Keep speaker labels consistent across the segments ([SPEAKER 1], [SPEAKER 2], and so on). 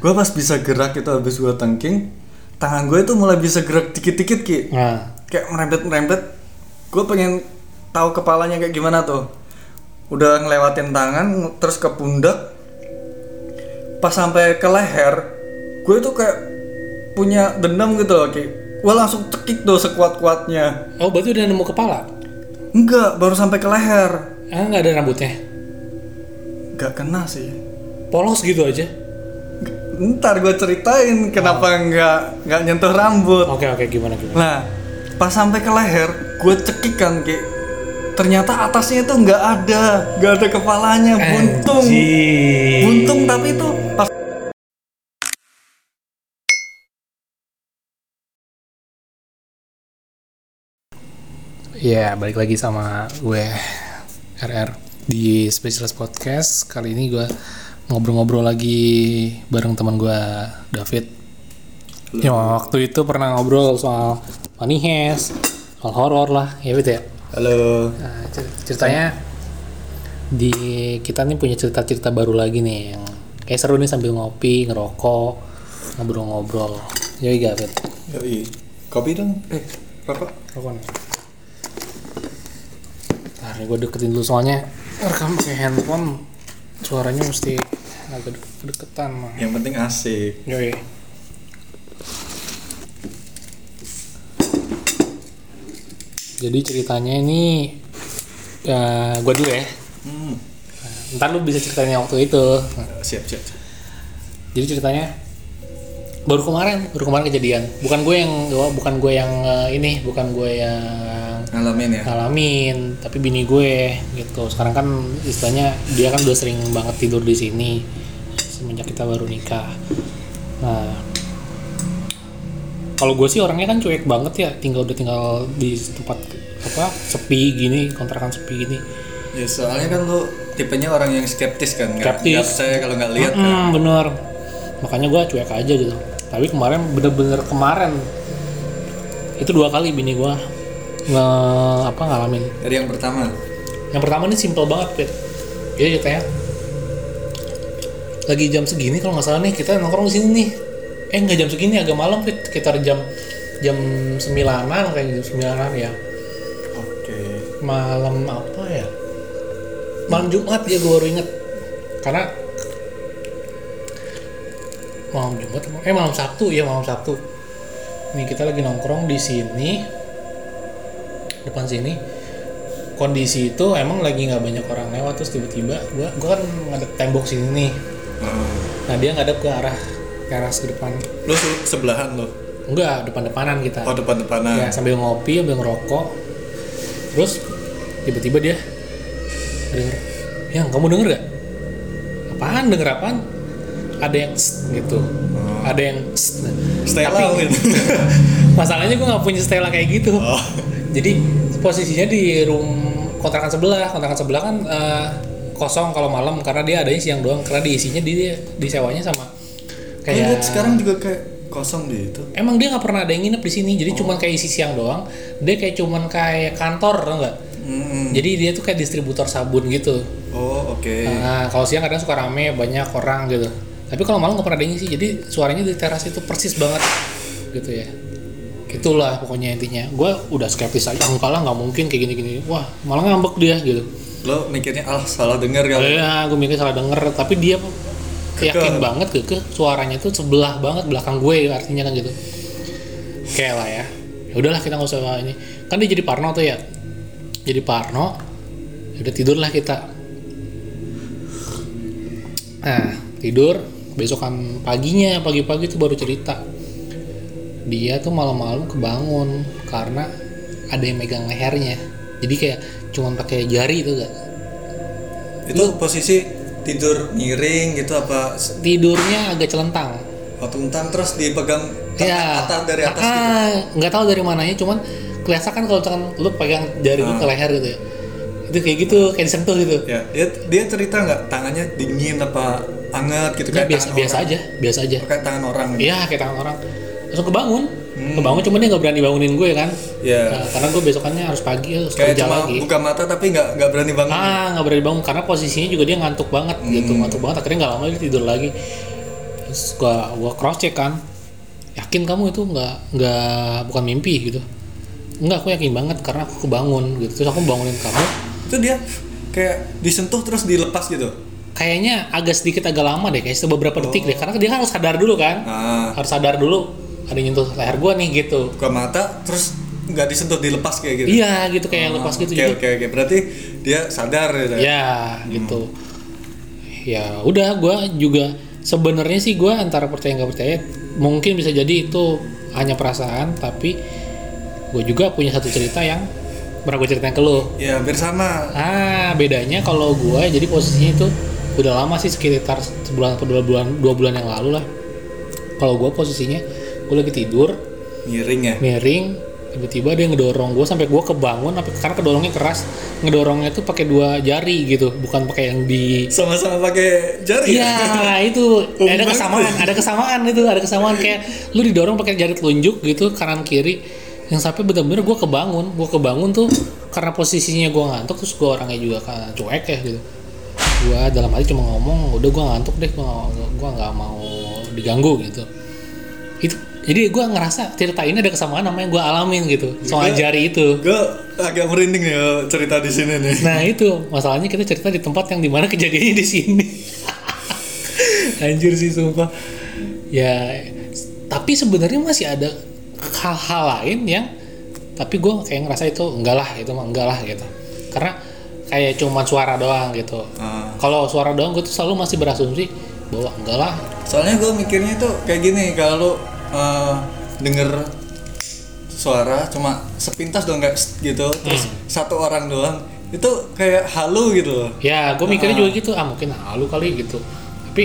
[SPEAKER 1] gue pas bisa gerak itu habis gue tengking tangan gue itu mulai bisa gerak dikit-dikit ki
[SPEAKER 2] Nah,
[SPEAKER 1] kayak merembet merembet gue pengen tahu kepalanya kayak gimana tuh udah ngelewatin tangan terus ke pundak pas sampai ke leher gue tuh kayak punya dendam gitu loh ki gue langsung cekik tuh sekuat kuatnya
[SPEAKER 2] oh berarti udah nemu kepala?
[SPEAKER 1] enggak baru sampai ke leher
[SPEAKER 2] Ah nggak ada rambutnya?
[SPEAKER 1] nggak kena sih
[SPEAKER 2] Polos gitu aja?
[SPEAKER 1] ntar gue ceritain kenapa nggak nggak nyentuh rambut
[SPEAKER 2] Oke oke gimana gimana?
[SPEAKER 1] nah pas sampai ke leher gue cekik kan Ki. ternyata atasnya itu nggak ada nggak ada kepalanya buntung
[SPEAKER 2] Anjing.
[SPEAKER 1] buntung tapi itu pas
[SPEAKER 2] Iya, balik lagi sama gue RR di Specialist Podcast. Kali ini gue ngobrol-ngobrol lagi bareng teman gue David. Ya waktu itu pernah ngobrol soal money heist, soal horor lah, ya gitu ya.
[SPEAKER 1] halo
[SPEAKER 2] Nah, cer- ceritanya di kita nih punya cerita-cerita baru lagi nih yang kayak seru nih sambil ngopi, ngerokok, ngobrol-ngobrol. Yoi David.
[SPEAKER 1] Yoi. kopi dong eh rokok
[SPEAKER 2] Rokok nih. Ntar nih gue deketin dulu soalnya rekam pakai handphone suaranya mesti agak deket deketan mah.
[SPEAKER 1] yang penting asik
[SPEAKER 2] Yoi. Jadi ceritanya ini eh gue dulu ya.
[SPEAKER 1] hmm.
[SPEAKER 2] Ntar lu bisa ceritanya waktu itu. Nah,
[SPEAKER 1] siap siap siap.
[SPEAKER 2] Jadi ceritanya baru kemarin, baru kemarin kejadian. Bukan gue yang, bukan gue yang eh, ini, bukan gue yang
[SPEAKER 1] ngalamin ya
[SPEAKER 2] ngalamin tapi bini gue gitu sekarang kan istilahnya dia kan udah sering banget tidur di sini semenjak kita baru nikah nah kalau gue sih orangnya kan cuek banget ya tinggal udah tinggal di tempat apa sepi gini kontrakan sepi gini
[SPEAKER 1] ya soalnya kan lu tipenya orang yang skeptis kan nggak
[SPEAKER 2] Skeptis.
[SPEAKER 1] nggak percaya kalau nggak lihat kan
[SPEAKER 2] Hmm, bener. Makanya gue cuek aja gitu. Tapi kemarin bener-bener kemarin itu dua kali bini gue nge apa ngalamin.
[SPEAKER 1] dari yang pertama
[SPEAKER 2] Yang pertama ini simple banget, Fit. Jadi ceritanya lagi jam segini kalau nggak salah nih kita nongkrong di sini nih. Eh nggak jam segini agak malam, Fit. Sekitar jam jam sembilanan kayak jam sembilanan ya.
[SPEAKER 1] oke
[SPEAKER 2] Malam apa ya? Malam Jumat ya gue baru inget. Karena malam Jumat, eh malam Sabtu ya malam Sabtu. Nih kita lagi nongkrong di sini depan sini kondisi itu emang lagi nggak banyak orang lewat terus tiba-tiba gua gua kan ngadep tembok sini nih
[SPEAKER 1] Hmm.
[SPEAKER 2] nah dia ngadep ke arah teras ke depan
[SPEAKER 1] lu se- sebelahan lu
[SPEAKER 2] enggak depan-depanan kita
[SPEAKER 1] oh depan-depanan
[SPEAKER 2] ya sambil ngopi sambil ngerokok terus tiba-tiba dia denger yang kamu denger gak apaan denger apaan ada yang "Tss," gitu ada yang "Tss." Nah,
[SPEAKER 1] Oh. Stella
[SPEAKER 2] tapi-
[SPEAKER 1] Win.
[SPEAKER 2] masalahnya gue nggak punya Stella kayak gitu
[SPEAKER 1] Oh.
[SPEAKER 2] jadi posisinya di room kontrakan sebelah kontrakan sebelah kan eh, kosong kalau malam karena dia adanya siang doang karena diisinya di disewanya sama
[SPEAKER 1] Kayak
[SPEAKER 2] kayak
[SPEAKER 1] sekarang juga kayak kosong di itu.
[SPEAKER 2] emang dia nggak pernah ada yang nginep di sini jadi cuman kayak isi siang doang dia kayak cuman kayak kantor tau nggak
[SPEAKER 1] Mm.
[SPEAKER 2] jadi dia tuh kayak distributor sabun gitu
[SPEAKER 1] Oh, oke.
[SPEAKER 2] Nah, kalau siang kadang suka rame, banyak orang gitu. Tapi kalau malam nggak pernah ada yang ngisi, jadi suaranya di teras itu persis banget gitu ya. Itulah pokoknya intinya. Gue udah skeptis aja, enggak lah nggak mungkin kayak gini-gini. Wah, malah ngambek dia gitu.
[SPEAKER 1] Lo mikirnya ah salah dengar kali.
[SPEAKER 2] Ya, gue mikir salah denger, tapi dia yakin banget keke suaranya tuh sebelah banget belakang gue artinya kan gitu. Oke lah ya. Ya udahlah kita nggak usah ini. Kan dia jadi Parno tuh ya. Jadi Parno. ya Udah tidurlah kita. Nah, tidur besokan paginya pagi-pagi tuh baru cerita. Dia tuh malam-malam kebangun karena ada yang megang lehernya. Jadi kayak cuman pakai jari itu gak
[SPEAKER 1] Itu posisi tidur miring gitu apa s-
[SPEAKER 2] tidurnya agak celentang.
[SPEAKER 1] waktu tentang terus dipegang te-
[SPEAKER 2] Ya.
[SPEAKER 1] atas dari atas gitu.
[SPEAKER 2] Ah, nggak tahu dari mananya, cuman kelihatan kan kalau misalkan lu pegang jari lu
[SPEAKER 1] Ah.
[SPEAKER 2] ke leher gitu ya. Itu kayak gitu, kayak disentuh gitu.
[SPEAKER 1] Ya, dia, dia cerita nggak tangannya dingin apa anget gitu
[SPEAKER 2] Ya,
[SPEAKER 1] kayak
[SPEAKER 2] biasa
[SPEAKER 1] tangan
[SPEAKER 2] biasa aja, biasa aja.
[SPEAKER 1] orang, kayak tangan orang gitu.
[SPEAKER 2] Iya, kayak tangan orang. Langsung kebangun.
[SPEAKER 1] Hmm.
[SPEAKER 2] Kebangun cuman dia nggak berani bangunin gue kan.
[SPEAKER 1] Ya.
[SPEAKER 2] Nah, karena gue besokannya harus pagi harus
[SPEAKER 1] Kayak
[SPEAKER 2] kerja
[SPEAKER 1] cuma
[SPEAKER 2] lagi.
[SPEAKER 1] buka mata tapi nggak nggak berani bangun.
[SPEAKER 2] Iya. Hmm. Ah, nggak berani bangun karena posisinya juga dia ngantuk banget gitu, ngantuk banget. Akhirnya nggak lama dia tidur lagi. terus gua gua cross check kan yakin kamu itu nggak nggak bukan mimpi gitu nggak aku yakin banget karena aku kebangun gitu terus aku bangunin kamu
[SPEAKER 1] itu dia kayak disentuh terus dilepas gitu
[SPEAKER 2] kayaknya agak sedikit agak lama deh kayak beberapa detik deh karena dia kan harus sadar dulu kan
[SPEAKER 1] nah
[SPEAKER 2] harus sadar dulu ada yang nyentuh leher gua nih gitu
[SPEAKER 1] buka mata terus nggak disentuh dilepas kayak gitu
[SPEAKER 2] iya gitu kayak lepas gitu
[SPEAKER 1] oke
[SPEAKER 2] jadi
[SPEAKER 1] oke oke berarti dia sadar gitu
[SPEAKER 2] ya gitu ya udah gue juga sebenarnya sih gue antara percaya nggak percaya mungkin bisa jadi itu hanya perasaan tapi gue juga punya satu cerita yang pernah gue ceritain ke lo
[SPEAKER 1] ya hampir sama
[SPEAKER 2] ah bedanya kalau gue jadi posisinya itu udah lama sih sekitar sebulan atau dua bulan dua bulan yang lalu lah kalau gue posisinya gue lagi tidur
[SPEAKER 1] miring ya
[SPEAKER 2] miring tiba-tiba dia ngedorong gue sampai gue kebangun sampai karena kedorongnya keras ngedorongnya tuh pakai dua jari gitu bukan pakai yang di
[SPEAKER 1] sama-sama pakai jari ya?
[SPEAKER 2] Iya, itu ada kesamaan, ada kesamaan itu, ada kesamaan kayak lu didorong pakai jari telunjuk gitu kanan kiri yang sampai bener-bener gue kebangun, gue kebangun tuh karena posisinya gue ngantuk terus gue orangnya juga kan cuek ya gitu. Gue dalam hati cuma ngomong, udah gue ngantuk deh, gue gua nggak mau diganggu gitu. Itu jadi gue ngerasa cerita ini ada kesamaan sama yang gue alamin gitu soal jari itu.
[SPEAKER 1] gue agak merinding ya cerita di sini nih
[SPEAKER 2] Nah itu masalahnya kita cerita di tempat yang dimana kejadiannya di sini. Anjir sih sumpah. Ya tapi sebenarnya masih ada hal-hal lain yang tapi gue kayak ngerasa itu enggak lah itu mah enggak lah gitu. Karena kayak cuman suara doang gitu.
[SPEAKER 1] Ah.
[SPEAKER 2] Kalau suara doang gue tuh selalu masih berasumsi bahwa enggak lah.
[SPEAKER 1] soalnya gue mikirnya tuh kayak gini kalau lu eh, denger suara cuma sepintas doang kayak "Psst" gitu
[SPEAKER 2] Hmm.
[SPEAKER 1] terus satu orang doang itu kayak halu gitu loh
[SPEAKER 2] Ya gue mikirnya juga gitu ah mungkin halu kali gitu. Tapi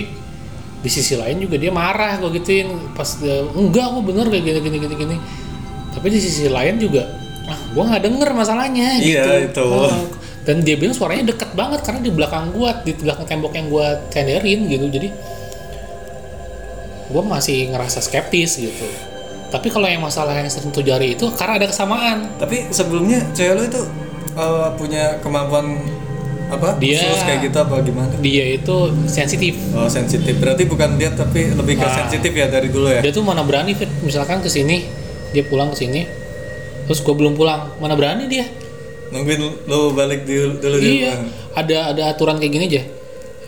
[SPEAKER 2] di sisi lain juga dia marah gue gituin pas dia, enggak aku bener kayak gini gini gini gini tapi di sisi lain juga ah gue nggak denger masalahnya
[SPEAKER 1] Iya,
[SPEAKER 2] gitu
[SPEAKER 1] itu.
[SPEAKER 2] Ah, dan dia bilang suaranya deket banget karena di belakang gua di belakang tembok yang gua cenderin gitu jadi gua masih ngerasa skeptis gitu tapi kalau yang masalah yang sering tuh jari itu karena ada kesamaan
[SPEAKER 1] tapi sebelumnya cewek lu itu eh, punya kemampuan apa
[SPEAKER 2] Dia-
[SPEAKER 1] khusus kayak gitu apa gimana
[SPEAKER 2] dia itu sensitif
[SPEAKER 1] oh sensitif berarti bukan dia tapi lebih ke
[SPEAKER 2] Nah.
[SPEAKER 1] sensitif ya dari dulu ya
[SPEAKER 2] dia tuh mana berani Fit. misalkan ke sini dia pulang ke sini terus gue belum pulang mana berani dia
[SPEAKER 1] nungguin lu balik di- dulu di
[SPEAKER 2] iya
[SPEAKER 1] rumah.
[SPEAKER 2] ada ada aturan kayak gini aja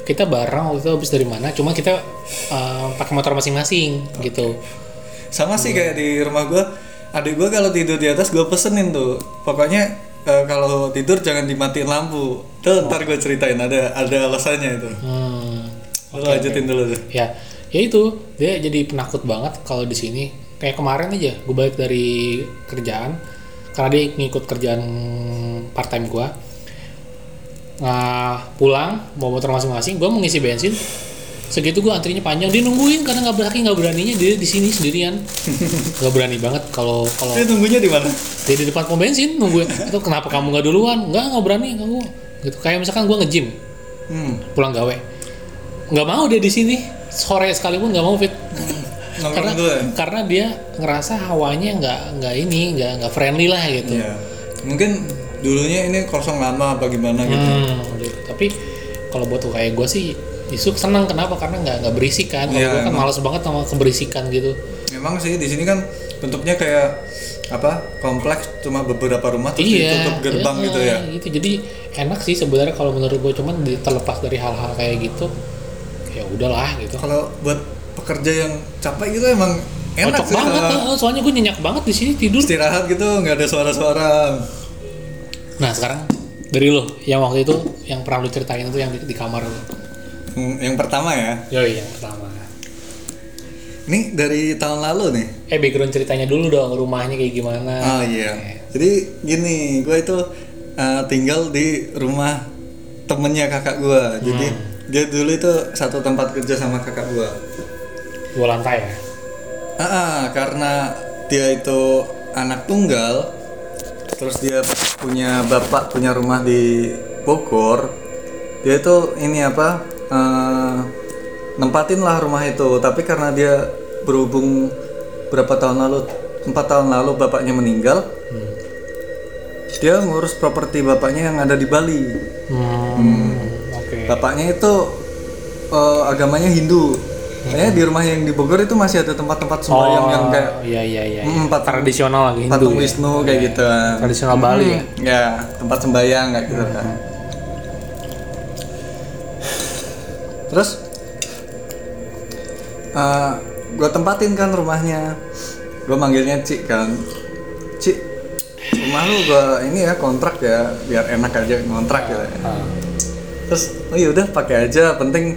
[SPEAKER 2] kita bareng waktu itu habis dari mana cuma kita eh, pakai motor masing-masing gitu
[SPEAKER 1] sama sih kayak di rumah gua adik gua kalau tidur di atas gua pesenin tuh pokoknya eh, kalau tidur jangan dimatiin lampu
[SPEAKER 2] Oh.
[SPEAKER 1] tuh ntar gue ceritain ada ada alasannya itu
[SPEAKER 2] hmm.
[SPEAKER 1] lu lanjutin dulu tuh
[SPEAKER 2] ya ya itu dia jadi penakut banget kalau di sini kayak kemarin aja gue balik dari kerjaan karena dia ngikut kerjaan part time gue nah pulang bawa motor masing-masing gue mau ngisi bensin segitu gue antrinya panjang dia nungguin karena nggak berani nggak beraninya dia di sini sendirian nggak berani banget kalau kalau
[SPEAKER 1] dia tunggunya di mana
[SPEAKER 2] dia di depan pom bensin nungguin itu kenapa kamu nggak duluan nggak nggak berani kamu gitu kayak misalkan gue nge-gym
[SPEAKER 1] hmm
[SPEAKER 2] pulang gawe nggak mau dia di sini sore sekalipun nggak mau fit
[SPEAKER 1] nongkrong
[SPEAKER 2] karena
[SPEAKER 1] dulu ya
[SPEAKER 2] karena dia ngerasa hawanya nggak nggak ini nggak nggak friendly lah gitu
[SPEAKER 1] Iya. mungkin dulunya ini kosong lama apa gimana gitu
[SPEAKER 2] Hmm, gitu. tapi kalau buat kayak gue sih Yusuf senang kenapa karena nggak nggak berisik kan kalau
[SPEAKER 1] Iya,
[SPEAKER 2] gue kan malas banget sama keberisikan gitu
[SPEAKER 1] memang sih di sini kan bentuknya kayak apa kompleks cuma beberapa rumah terus ditutup gerbang
[SPEAKER 2] iya,
[SPEAKER 1] gitu ya
[SPEAKER 2] gitu. jadi enak sih sebenarnya kalau menurut gue cuman di- terlepas dari hal-hal kayak gitu ya udahlah gitu
[SPEAKER 1] kalau buat pekerja yang capek gitu emang enak
[SPEAKER 2] cocok
[SPEAKER 1] sih
[SPEAKER 2] banget
[SPEAKER 1] kalau-
[SPEAKER 2] eh, soalnya gue nyenyak banget di sini tidur
[SPEAKER 1] istirahat gitu nggak ada suara-suara
[SPEAKER 2] nah sekarang dari lo yang waktu itu yang pernah lo ceritain itu yang di, di kamar lo
[SPEAKER 1] Hmm, yang pertama ya
[SPEAKER 2] yoi iya, yang pertama
[SPEAKER 1] ini dari tahun lalu nih
[SPEAKER 2] eh background ceritanya dulu dong rumahnya kayak gimana
[SPEAKER 1] oh iya jadi gini gue itu uh, tinggal di rumah temennya kakak gue jadi
[SPEAKER 2] Hmm.
[SPEAKER 1] dia dulu itu satu tempat kerja sama kakak gue
[SPEAKER 2] dua lantai ya
[SPEAKER 1] ah ah, karena dia itu anak tunggal terus dia punya bapak punya rumah di Bogor dia itu ini apa eh, nempatin lah rumah itu tapi karena dia berhubung berapa tahun lalu empat tahun lalu bapaknya meninggal
[SPEAKER 2] hmm.
[SPEAKER 1] dia ngurus properti bapaknya yang ada di Bali
[SPEAKER 2] Hmm, oke
[SPEAKER 1] bapaknya itu eh, agamanya Hindu Kayaknya di rumah yang di Bogor itu masih ada tempat-tempat sembahyang yang kayak
[SPEAKER 2] Oh, iya iya iya.
[SPEAKER 1] Mm,
[SPEAKER 2] Empat
[SPEAKER 1] patung-
[SPEAKER 2] tradisional lagi Hindu.
[SPEAKER 1] patung
[SPEAKER 2] ya.
[SPEAKER 1] Wisnu kayak gitu.
[SPEAKER 2] Tradisional Bali ya. Hmm.
[SPEAKER 1] Hmm, Ya, tempat sembahyang kayak gitu kan. Terus eh gue tempatin kan rumahnya. Gue manggilnya Cik kan. Cik, rumah lu gue ini ya kontrak ya, biar enak aja kontrak gitu. Ya.
[SPEAKER 2] Ah,
[SPEAKER 1] Terus, oh ya udah pakai aja, penting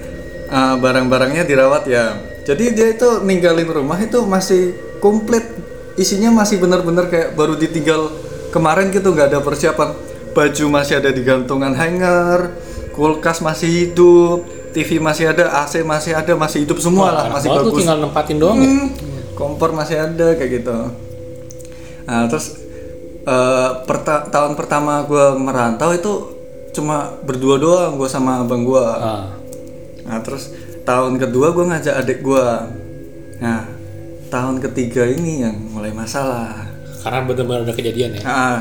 [SPEAKER 1] eh, barang-barangnya dirawat ya. Jadi dia itu ninggalin rumah itu masih komplit, isinya masih bener-bener kayak baru ditinggal kemarin gitu, nggak ada persiapan. Baju masih ada di gantungan hanger, kulkas masih hidup, TV masih ada, AC masih ada, masih hidup semua lah,
[SPEAKER 2] enak
[SPEAKER 1] masih
[SPEAKER 2] banget lu
[SPEAKER 1] bagus.
[SPEAKER 2] tinggal nempatin doang ya.
[SPEAKER 1] Hmm, kompor masih ada kayak gitu nah terus eh, perta- tahun pertama gua merantau itu cuma berdua doang gue sama abang gua
[SPEAKER 2] Ah,
[SPEAKER 1] nah terus tahun kedua gua ngajak adik gua nah tahun ketiga ini yang mulai masalah
[SPEAKER 2] karena benar-benar ada kejadian ya.
[SPEAKER 1] Nah,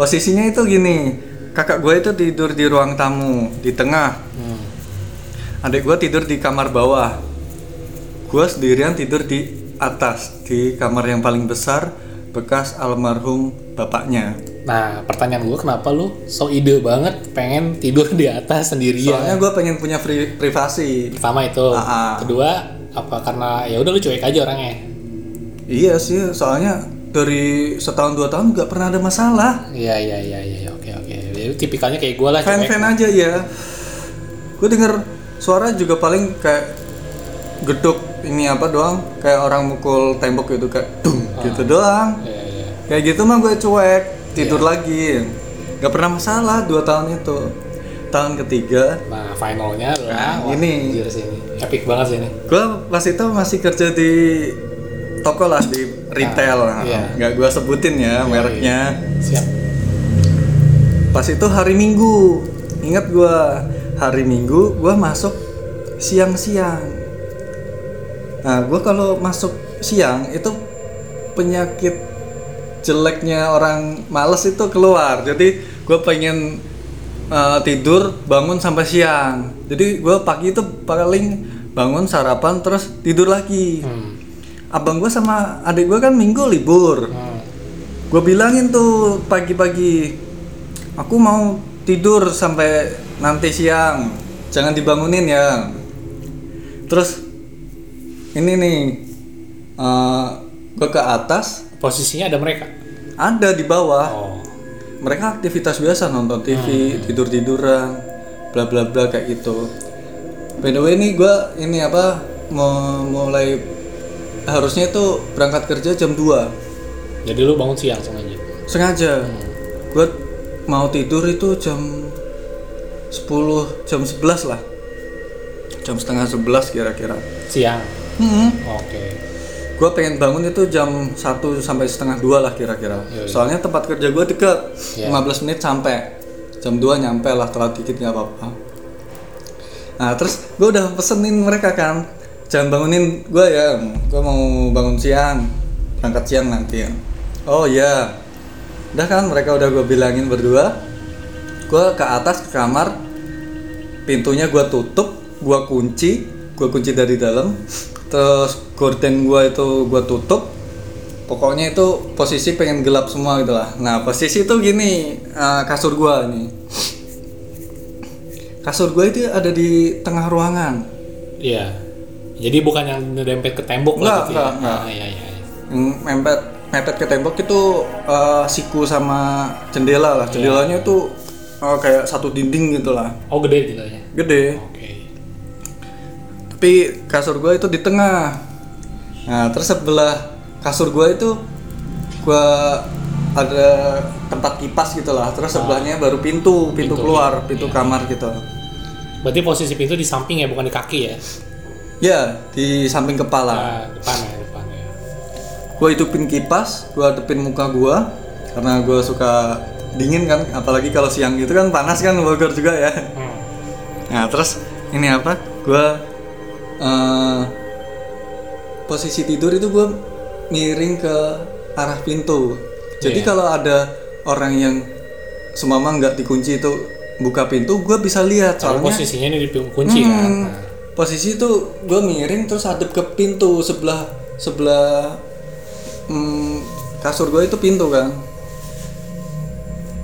[SPEAKER 1] posisinya itu gini kakak gue itu tidur di ruang tamu di tengah
[SPEAKER 2] Hmm.
[SPEAKER 1] adik gue tidur di kamar bawah gue sendirian tidur di atas di kamar yang paling besar bekas almarhum bapaknya
[SPEAKER 2] Nah, pertanyaan gue kenapa lu so ide banget pengen tidur di atas sendirian?
[SPEAKER 1] soalnya gue pengen punya pri- privasi
[SPEAKER 2] Pertama itu,
[SPEAKER 1] Ah, ah.
[SPEAKER 2] kedua apa karena ya udah lu cuek aja orangnya.
[SPEAKER 1] iya sih soalnya dari setahun dua tahun nggak pernah ada masalah
[SPEAKER 2] Iya iya iya iya iya, oke oke. Jadi tipikalnya kayak gue lah cuek.
[SPEAKER 1] fan-fan aja ya gue denger suara juga paling kayak geduk ini apa doang kayak orang mukul tembok gitu kayak dung gitu doang
[SPEAKER 2] Iya iya.
[SPEAKER 1] kayak gitu mah gue cuek tidur lagi nggak pernah masalah dua tahun itu tahun ketiga
[SPEAKER 2] Nah, finalnya adalah
[SPEAKER 1] Nah,
[SPEAKER 2] wah,
[SPEAKER 1] ini.
[SPEAKER 2] anjir sih ini. Epic banget sih ini.
[SPEAKER 1] gue pas itu masih kerja di toko lah di retail
[SPEAKER 2] iya.
[SPEAKER 1] nggak gue sebutin ya mereknya
[SPEAKER 2] Siap.
[SPEAKER 1] pas itu hari minggu ingat gue hari minggu gue masuk siang-siang nah gue kalau masuk siang itu penyakit jeleknya orang males itu keluar jadi gue pengen eh, tidur bangun sampai siang jadi gue pagi itu paling bangun sarapan terus tidur lagi
[SPEAKER 2] Hmm.
[SPEAKER 1] abang gue sama adik gue kan minggu libur
[SPEAKER 2] Hmm.
[SPEAKER 1] gue bilangin tuh pagi-pagi aku mau tidur sampai nanti siang jangan dibangunin ya terus ini nih gue ke atas
[SPEAKER 2] Posisinya ada mereka.
[SPEAKER 1] ada di bawah
[SPEAKER 2] Oh.
[SPEAKER 1] mereka aktivitas biasa nonton TV tidur tiduran bla bla bla kayak gitu by the way ini gue ini apa mau mulai harusnya itu berangkat kerja jam 2
[SPEAKER 2] Jadi lu bangun siang sengaja.
[SPEAKER 1] sengaja gue mau tidur itu jam 10 jam 11 lah jam setengah 11 kira-kira
[SPEAKER 2] Siang.
[SPEAKER 1] hmm.
[SPEAKER 2] Oke.
[SPEAKER 1] gue pengen bangun itu jam 1 sampai setengah 2 lah kira-kira
[SPEAKER 2] Iya, iya.
[SPEAKER 1] soalnya tempat kerja gue dekat
[SPEAKER 2] Iya.
[SPEAKER 1] 15 menit sampai jam 2 nyampe lah telat dikit nggak apa-apa nah terus gue udah pesenin mereka kan jangan bangunin gue ya gue mau bangun siang berangkat siang nanti ya oh ya udah kan mereka udah gue bilangin berdua gue ke atas ke kamar pintunya gue tutup gue kunci gue kunci dari dalam terus gorden gue itu gue tutup pokoknya itu posisi pengen gelap semua gitu lah nah posisi itu gini eh, kasur gue ini kasur gue itu ada di tengah ruangan
[SPEAKER 2] Iya. Jadi bukan yang dempet ke tembok
[SPEAKER 1] Nggak,
[SPEAKER 2] lah gitu
[SPEAKER 1] nggak,
[SPEAKER 2] ya.
[SPEAKER 1] nggak.
[SPEAKER 2] Ah, iya, iya. iya.
[SPEAKER 1] yang mepet mepet ke tembok itu eh, siku sama jendela lah jendelanya itu eh, kayak satu dinding gitu lah
[SPEAKER 2] Oh, gede jendelanya.
[SPEAKER 1] gede
[SPEAKER 2] Oke.
[SPEAKER 1] tapi kasur gue itu di tengah nah terus sebelah kasur gue itu gue ada tempat kipas gitu lah terus sebelahnya baru pintu pintu, keluar pintu kamar gitu
[SPEAKER 2] Berarti posisi pintu di samping ya, bukan di kaki ya.
[SPEAKER 1] ya di samping kepala
[SPEAKER 2] Nah, depan ya, depan ya.
[SPEAKER 1] gue hidupin kipas gue hidupin muka gue karena gue suka dingin kan apalagi kalau siang gitu kan panas kan Bogor juga ya
[SPEAKER 2] Hmm.
[SPEAKER 1] Nah terus ini apa? Gua eh, posisi tidur itu gua miring ke arah pintu. Jadi
[SPEAKER 2] Iya.
[SPEAKER 1] kalau ada orang yang semama nggak dikunci itu buka pintu, gua bisa lihat
[SPEAKER 2] Soalnya
[SPEAKER 1] soalnya.
[SPEAKER 2] posisinya ini di kunci kan.
[SPEAKER 1] Hmm,
[SPEAKER 2] Nah,
[SPEAKER 1] posisi itu gue miring terus hadap ke pintu sebelah sebelah mm, kasur gue itu pintu kan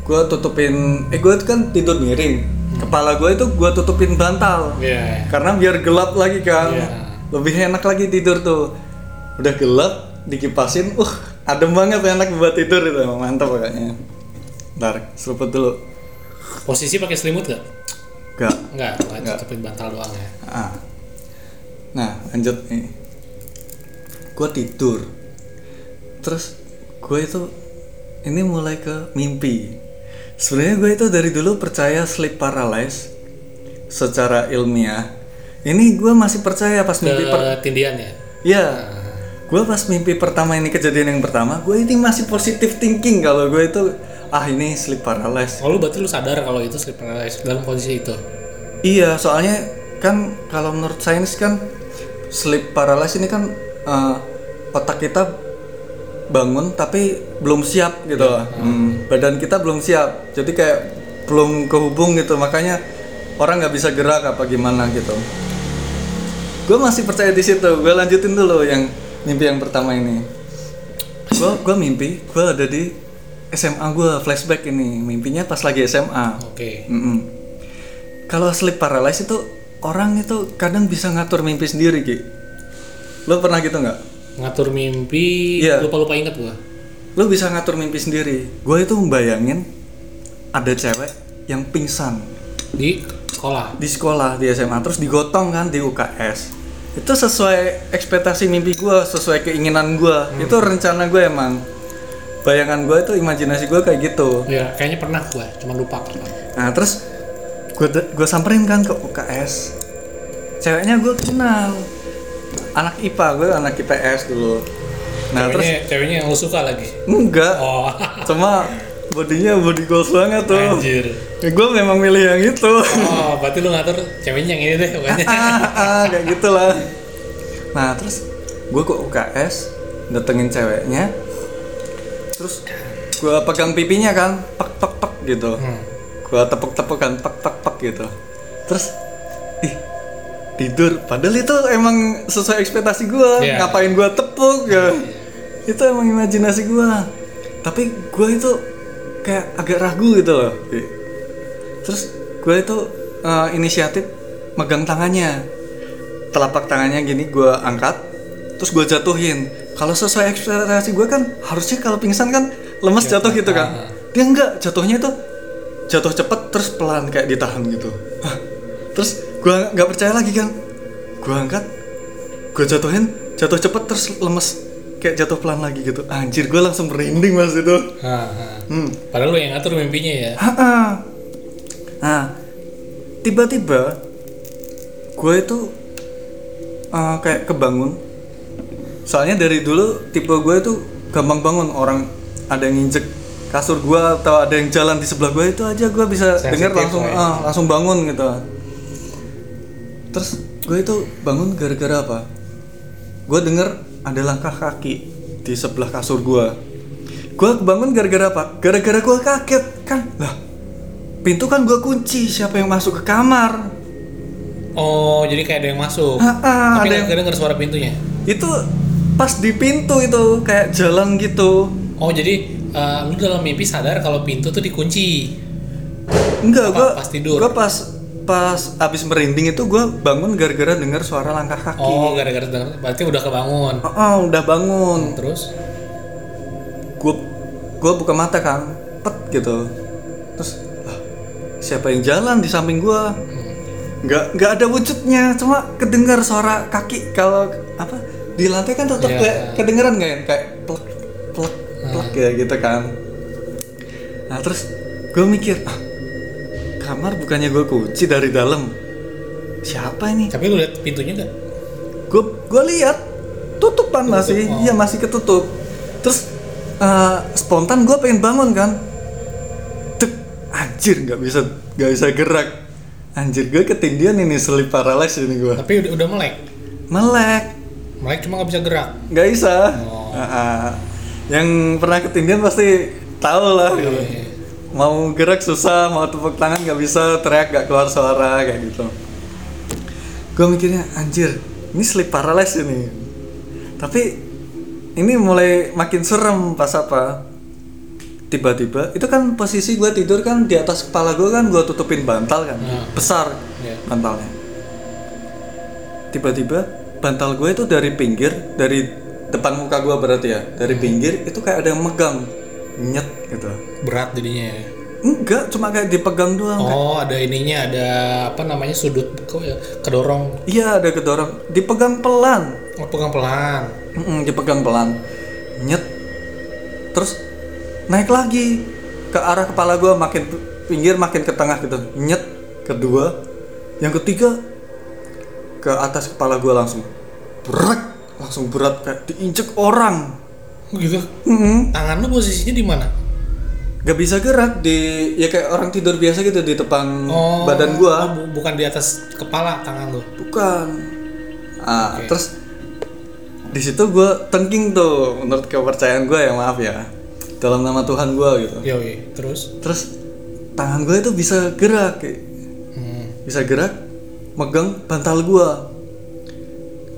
[SPEAKER 1] gue tutupin eh gue kan tidur miring kepala gue itu gue tutupin bantal
[SPEAKER 2] Iya.
[SPEAKER 1] karena biar gelap lagi kan
[SPEAKER 2] Iya.
[SPEAKER 1] lebih enak lagi tidur tuh udah gelap dikipasin uh adem banget enak buat tidur itu emang mantap pokoknya ntar seruput dulu
[SPEAKER 2] Posisi pakai selimut gak?
[SPEAKER 1] gak
[SPEAKER 2] Enggak,
[SPEAKER 1] Nggak.
[SPEAKER 2] tutupin bantal doang ya.
[SPEAKER 1] Ah. Nah, lanjut nih. Gue tidur. Terus gue itu ini mulai ke mimpi. Sebenarnya gue itu dari dulu percaya sleep paralysis secara ilmiah. Ini gue masih percaya pas mimpi per
[SPEAKER 2] Ketindian ya.
[SPEAKER 1] Ya, gue pas mimpi pertama ini kejadian yang pertama, gue ini masih positive thinking kalau gue itu ah ini sleep paralysis.
[SPEAKER 2] Oh, lu berarti lu sadar kalau itu sleep paralysis dalam kondisi itu.
[SPEAKER 1] Iya, soalnya kan kalau menurut sains kan sleep paralysis ini kan eh, otak kita bangun tapi belum siap gitu. lah. Hmm, Badan kita belum siap. Jadi kayak belum kehubung gitu. Makanya orang nggak bisa gerak apa gimana gitu. Gue masih percaya di situ. Gue lanjutin dulu yang mimpi yang pertama ini. Gue gua mimpi gue ada di SMA gue flashback ini. Mimpinya pas lagi SMA.
[SPEAKER 2] Oke.
[SPEAKER 1] Mm-mm. Kalau sleep paralysis itu orang itu kadang bisa ngatur mimpi sendiri, Ki. Lo pernah gitu nggak?
[SPEAKER 2] Ngatur mimpi,
[SPEAKER 1] Iya.
[SPEAKER 2] lupa-lupa inget gua.
[SPEAKER 1] Lo bisa ngatur mimpi sendiri. Gue itu membayangin ada cewek yang pingsan
[SPEAKER 2] Di sekolah.
[SPEAKER 1] di sekolah di SMA terus digotong kan di UKS. Itu sesuai ekspektasi mimpi gue, sesuai keinginan gue. Itu rencana gue emang. Bayangan gue itu imajinasi gue kayak gitu.
[SPEAKER 2] Ya, kayaknya pernah gua, cuma lupa kapan.
[SPEAKER 1] Nah terus gue gue samperin kan ke UKS. Ceweknya gue kenal. Anak IPA gue anak IPS dulu. Nah terus
[SPEAKER 2] ceweknya, ceweknya yang lu suka lagi.
[SPEAKER 1] enggak,
[SPEAKER 2] Oh,
[SPEAKER 1] cuma bodinya body goals banget tuh.
[SPEAKER 2] anjir.
[SPEAKER 1] gue memang milih yang itu.
[SPEAKER 2] Oh, berarti lu ngatur ceweknya yang ini deh pokoknya.
[SPEAKER 1] ah, ah, kayak gitulah. Nah terus gue ke UKS datengin ceweknya. Terus gue pegang pipinya kan, pek pek pek gitu.
[SPEAKER 2] Hmm.
[SPEAKER 1] gua tepuk-tepuk kan tek tek tek gitu terus ih tidur padahal itu emang sesuai ekspektasi gua
[SPEAKER 2] Iya.
[SPEAKER 1] ngapain gua tepuk ya itu emang imajinasi gua tapi gua itu kayak agak ragu gitu loh Ki. terus gua itu eh, inisiatif megang tangannya telapak tangannya gini gua angkat terus gua jatuhin kalau sesuai ekspektasi gua kan harusnya kalau pingsan kan lemes jatuh gitu kan dia enggak jatuhnya itu jatuh cepet terus pelan kayak ditahan gitu Hah. terus gua nggak percaya lagi kan gua angkat gua jatuhin jatuh cepet terus lemes kayak jatuh pelan lagi gitu anjir gua langsung merinding mas itu
[SPEAKER 2] Ah, ah.
[SPEAKER 1] hmm.
[SPEAKER 2] Padahal lu yang ngatur mimpinya ya.
[SPEAKER 1] Ha-ha. Nah, tiba-tiba gue itu eh, kayak kebangun. Soalnya dari dulu tipe gue itu gampang bangun orang ada yang injek kasur gue atau ada yang jalan di sebelah gue itu aja gue bisa
[SPEAKER 2] Sensitif
[SPEAKER 1] dengar langsung
[SPEAKER 2] lah ya.
[SPEAKER 1] ah, langsung bangun gitu. Terus gue itu bangun gara-gara apa? Gue denger ada langkah kaki di sebelah kasur gue. Gue bangun gara-gara apa? Gara-gara gue kaget kan lah. Pintu kan gue kunci. Siapa yang masuk ke kamar?
[SPEAKER 2] Oh, jadi kayak ada yang masuk.
[SPEAKER 1] Ah, ah, ada
[SPEAKER 2] Tapi nggak
[SPEAKER 1] yang-
[SPEAKER 2] kedenger suara pintunya.
[SPEAKER 1] Itu pas di pintu itu kayak jalan gitu.
[SPEAKER 2] Oh, jadi eh, lu dalam mimpi sadar kalau pintu tuh dikunci.
[SPEAKER 1] Enggak,
[SPEAKER 2] Apa,
[SPEAKER 1] gue
[SPEAKER 2] pas tidur?
[SPEAKER 1] Gue pas pas abis merinding itu gue bangun gara-gara denger suara langkah kaki.
[SPEAKER 2] Oh, gara-gara denger- berarti udah kebangun.
[SPEAKER 1] Oh, oh, udah bangun.
[SPEAKER 2] Terus
[SPEAKER 1] gue gue buka mata kan pet gitu terus "Lah, siapa yang jalan di samping gue nggak nggak ada wujudnya cuma kedengar suara kaki kalau apa di lantai kan tetap
[SPEAKER 2] Iya.
[SPEAKER 1] kayak kedengeran nggak ya kayak plek plek plek ya gitu kan nah terus gue mikir "Ah, kamar bukannya gue kunci dari dalam siapa ini
[SPEAKER 2] tapi lu lihat pintunya nggak?
[SPEAKER 1] gue gue lihat tutupan masih
[SPEAKER 2] oh.
[SPEAKER 1] iya masih ketutup terus eh, spontan gue pengen bangun kan Tek, anjir nggak bisa nggak bisa gerak anjir gue ketindian ini sleep paralysis ini gue
[SPEAKER 2] Tapi udah, udah melek.
[SPEAKER 1] melek
[SPEAKER 2] Melek cuma nggak bisa gerak.
[SPEAKER 1] nggak bisa
[SPEAKER 2] Oh.
[SPEAKER 1] Ah, ah. yang pernah ketindian pasti tahu lah gitu.
[SPEAKER 2] Iya.
[SPEAKER 1] mau gerak susah mau tepuk tangan nggak bisa teriak nggak keluar suara kayak gitu gue mikirnya anjir ini sleep paralysis ini tapi ini mulai makin serem pas apa tiba-tiba itu kan posisi gue tidur kan di atas kepala gue kan gue tutupin bantal kan
[SPEAKER 2] Hmm.
[SPEAKER 1] besar
[SPEAKER 2] Iya.
[SPEAKER 1] bantalnya tiba-tiba bantal gue itu dari pinggir dari depan muka gue berarti ya dari
[SPEAKER 2] Hmm.
[SPEAKER 1] pinggir itu kayak ada yang megang nyet gitu
[SPEAKER 2] berat jadinya ya.
[SPEAKER 1] enggak cuma kayak dipegang doang
[SPEAKER 2] Oh, ada ininya, ada apa namanya sudut kok ya, kedorong.
[SPEAKER 1] iya ada kedorong dipegang pelan
[SPEAKER 2] Oh, pegang pelan.
[SPEAKER 1] Mm-mm, dipegang pelan nyet terus naik lagi ke arah kepala gua makin p- pinggir makin ke tengah gitu nyet kedua yang ketiga ke atas kepala gua langsung berat langsung berat kayak diinjek orang
[SPEAKER 2] Oh, gitu.
[SPEAKER 1] Mm-mm.
[SPEAKER 2] Tangan lu posisinya di mana?
[SPEAKER 1] Gak bisa gerak di ya kayak orang tidur biasa gitu di depan
[SPEAKER 2] Oh,
[SPEAKER 1] badan gua
[SPEAKER 2] oh, bu- bukan di atas kepala tangan lu.
[SPEAKER 1] bukan ah
[SPEAKER 2] Oke.
[SPEAKER 1] terus di situ gue tengking tuh menurut kepercayaan gue ya maaf ya dalam nama Tuhan gue gitu
[SPEAKER 2] Ya, oke. Terus
[SPEAKER 1] terus tangan gue itu bisa gerak kayak,
[SPEAKER 2] hmm.
[SPEAKER 1] bisa gerak megang bantal gue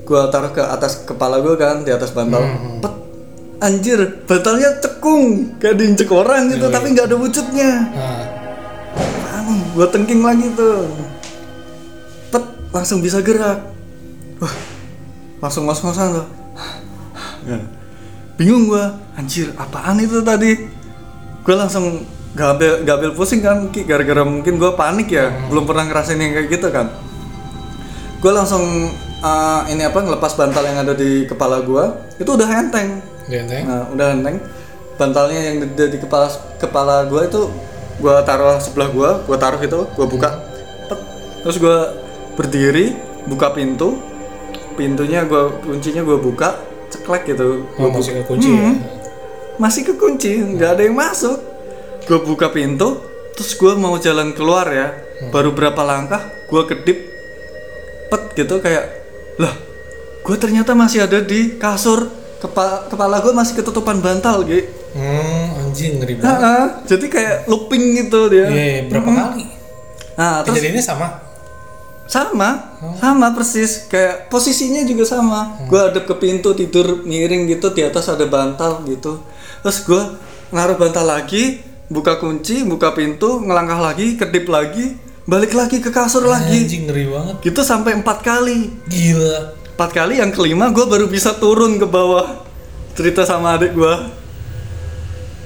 [SPEAKER 1] gue taruh ke atas kepala gue kan di atas bantal
[SPEAKER 2] Hmm.
[SPEAKER 1] Pet, anjir bantalnya cekung kayak diinjek orang gitu
[SPEAKER 2] Yoi.
[SPEAKER 1] tapi nggak ada wujudnya
[SPEAKER 2] Nah,
[SPEAKER 1] Apaan? Gua tengking lagi tuh. Pet, langsung bisa gerak. Wah, langsung ngos-ngosan tuh. Ya. Bingung gua, anjir apaan itu tadi? Gua langsung gak ambil, gak ambil pusing kan, Ki, gara-gara mungkin gua panik ya, belum pernah ngerasain yang kayak gitu kan. Gua langsung eh, ini apa ngelepas bantal yang ada di kepala gua, itu udah enteng.
[SPEAKER 2] genteng.
[SPEAKER 1] Nah, udah neng bantalnya yang di, di- di kepala kepala gua itu gua taruh sebelah gua, gua taruh gitu, gua buka. Tek. Terus gua berdiri, buka pintu. Pintunya gua kuncinya gua buka, ceklek gitu.
[SPEAKER 2] Oh, masih kekunci ya.
[SPEAKER 1] Hmm. Masih kekunci, nggak ada yang masuk. Gua buka pintu, terus gua mau jalan keluar ya.
[SPEAKER 2] Hmm.
[SPEAKER 1] Baru berapa langkah gua kedip pet gitu kayak lah gua ternyata masih ada di kasur Kepa- kepala gua masih ketutupan bantal gitu
[SPEAKER 2] Hmm, anjing ngeri banget.
[SPEAKER 1] Heeh, jadi kayak looping gitu dia.
[SPEAKER 2] Iya, berapa kali?
[SPEAKER 1] Nah, terus
[SPEAKER 2] Kejadiannya sama.
[SPEAKER 1] sama, sama persis kayak posisinya juga sama. Gua adep ke pintu tidur miring gitu di atas ada bantal gitu. Terus gua naruh bantal lagi, buka kunci, buka pintu, ngelangkah lagi, kedip lagi, balik lagi ke kasur lagi.
[SPEAKER 2] Anjing ngeri banget.
[SPEAKER 1] Gitu sampai empat kali.
[SPEAKER 2] Gila.
[SPEAKER 1] Empat kali yang kelima gua baru bisa turun ke bawah. Cerita sama adik gua.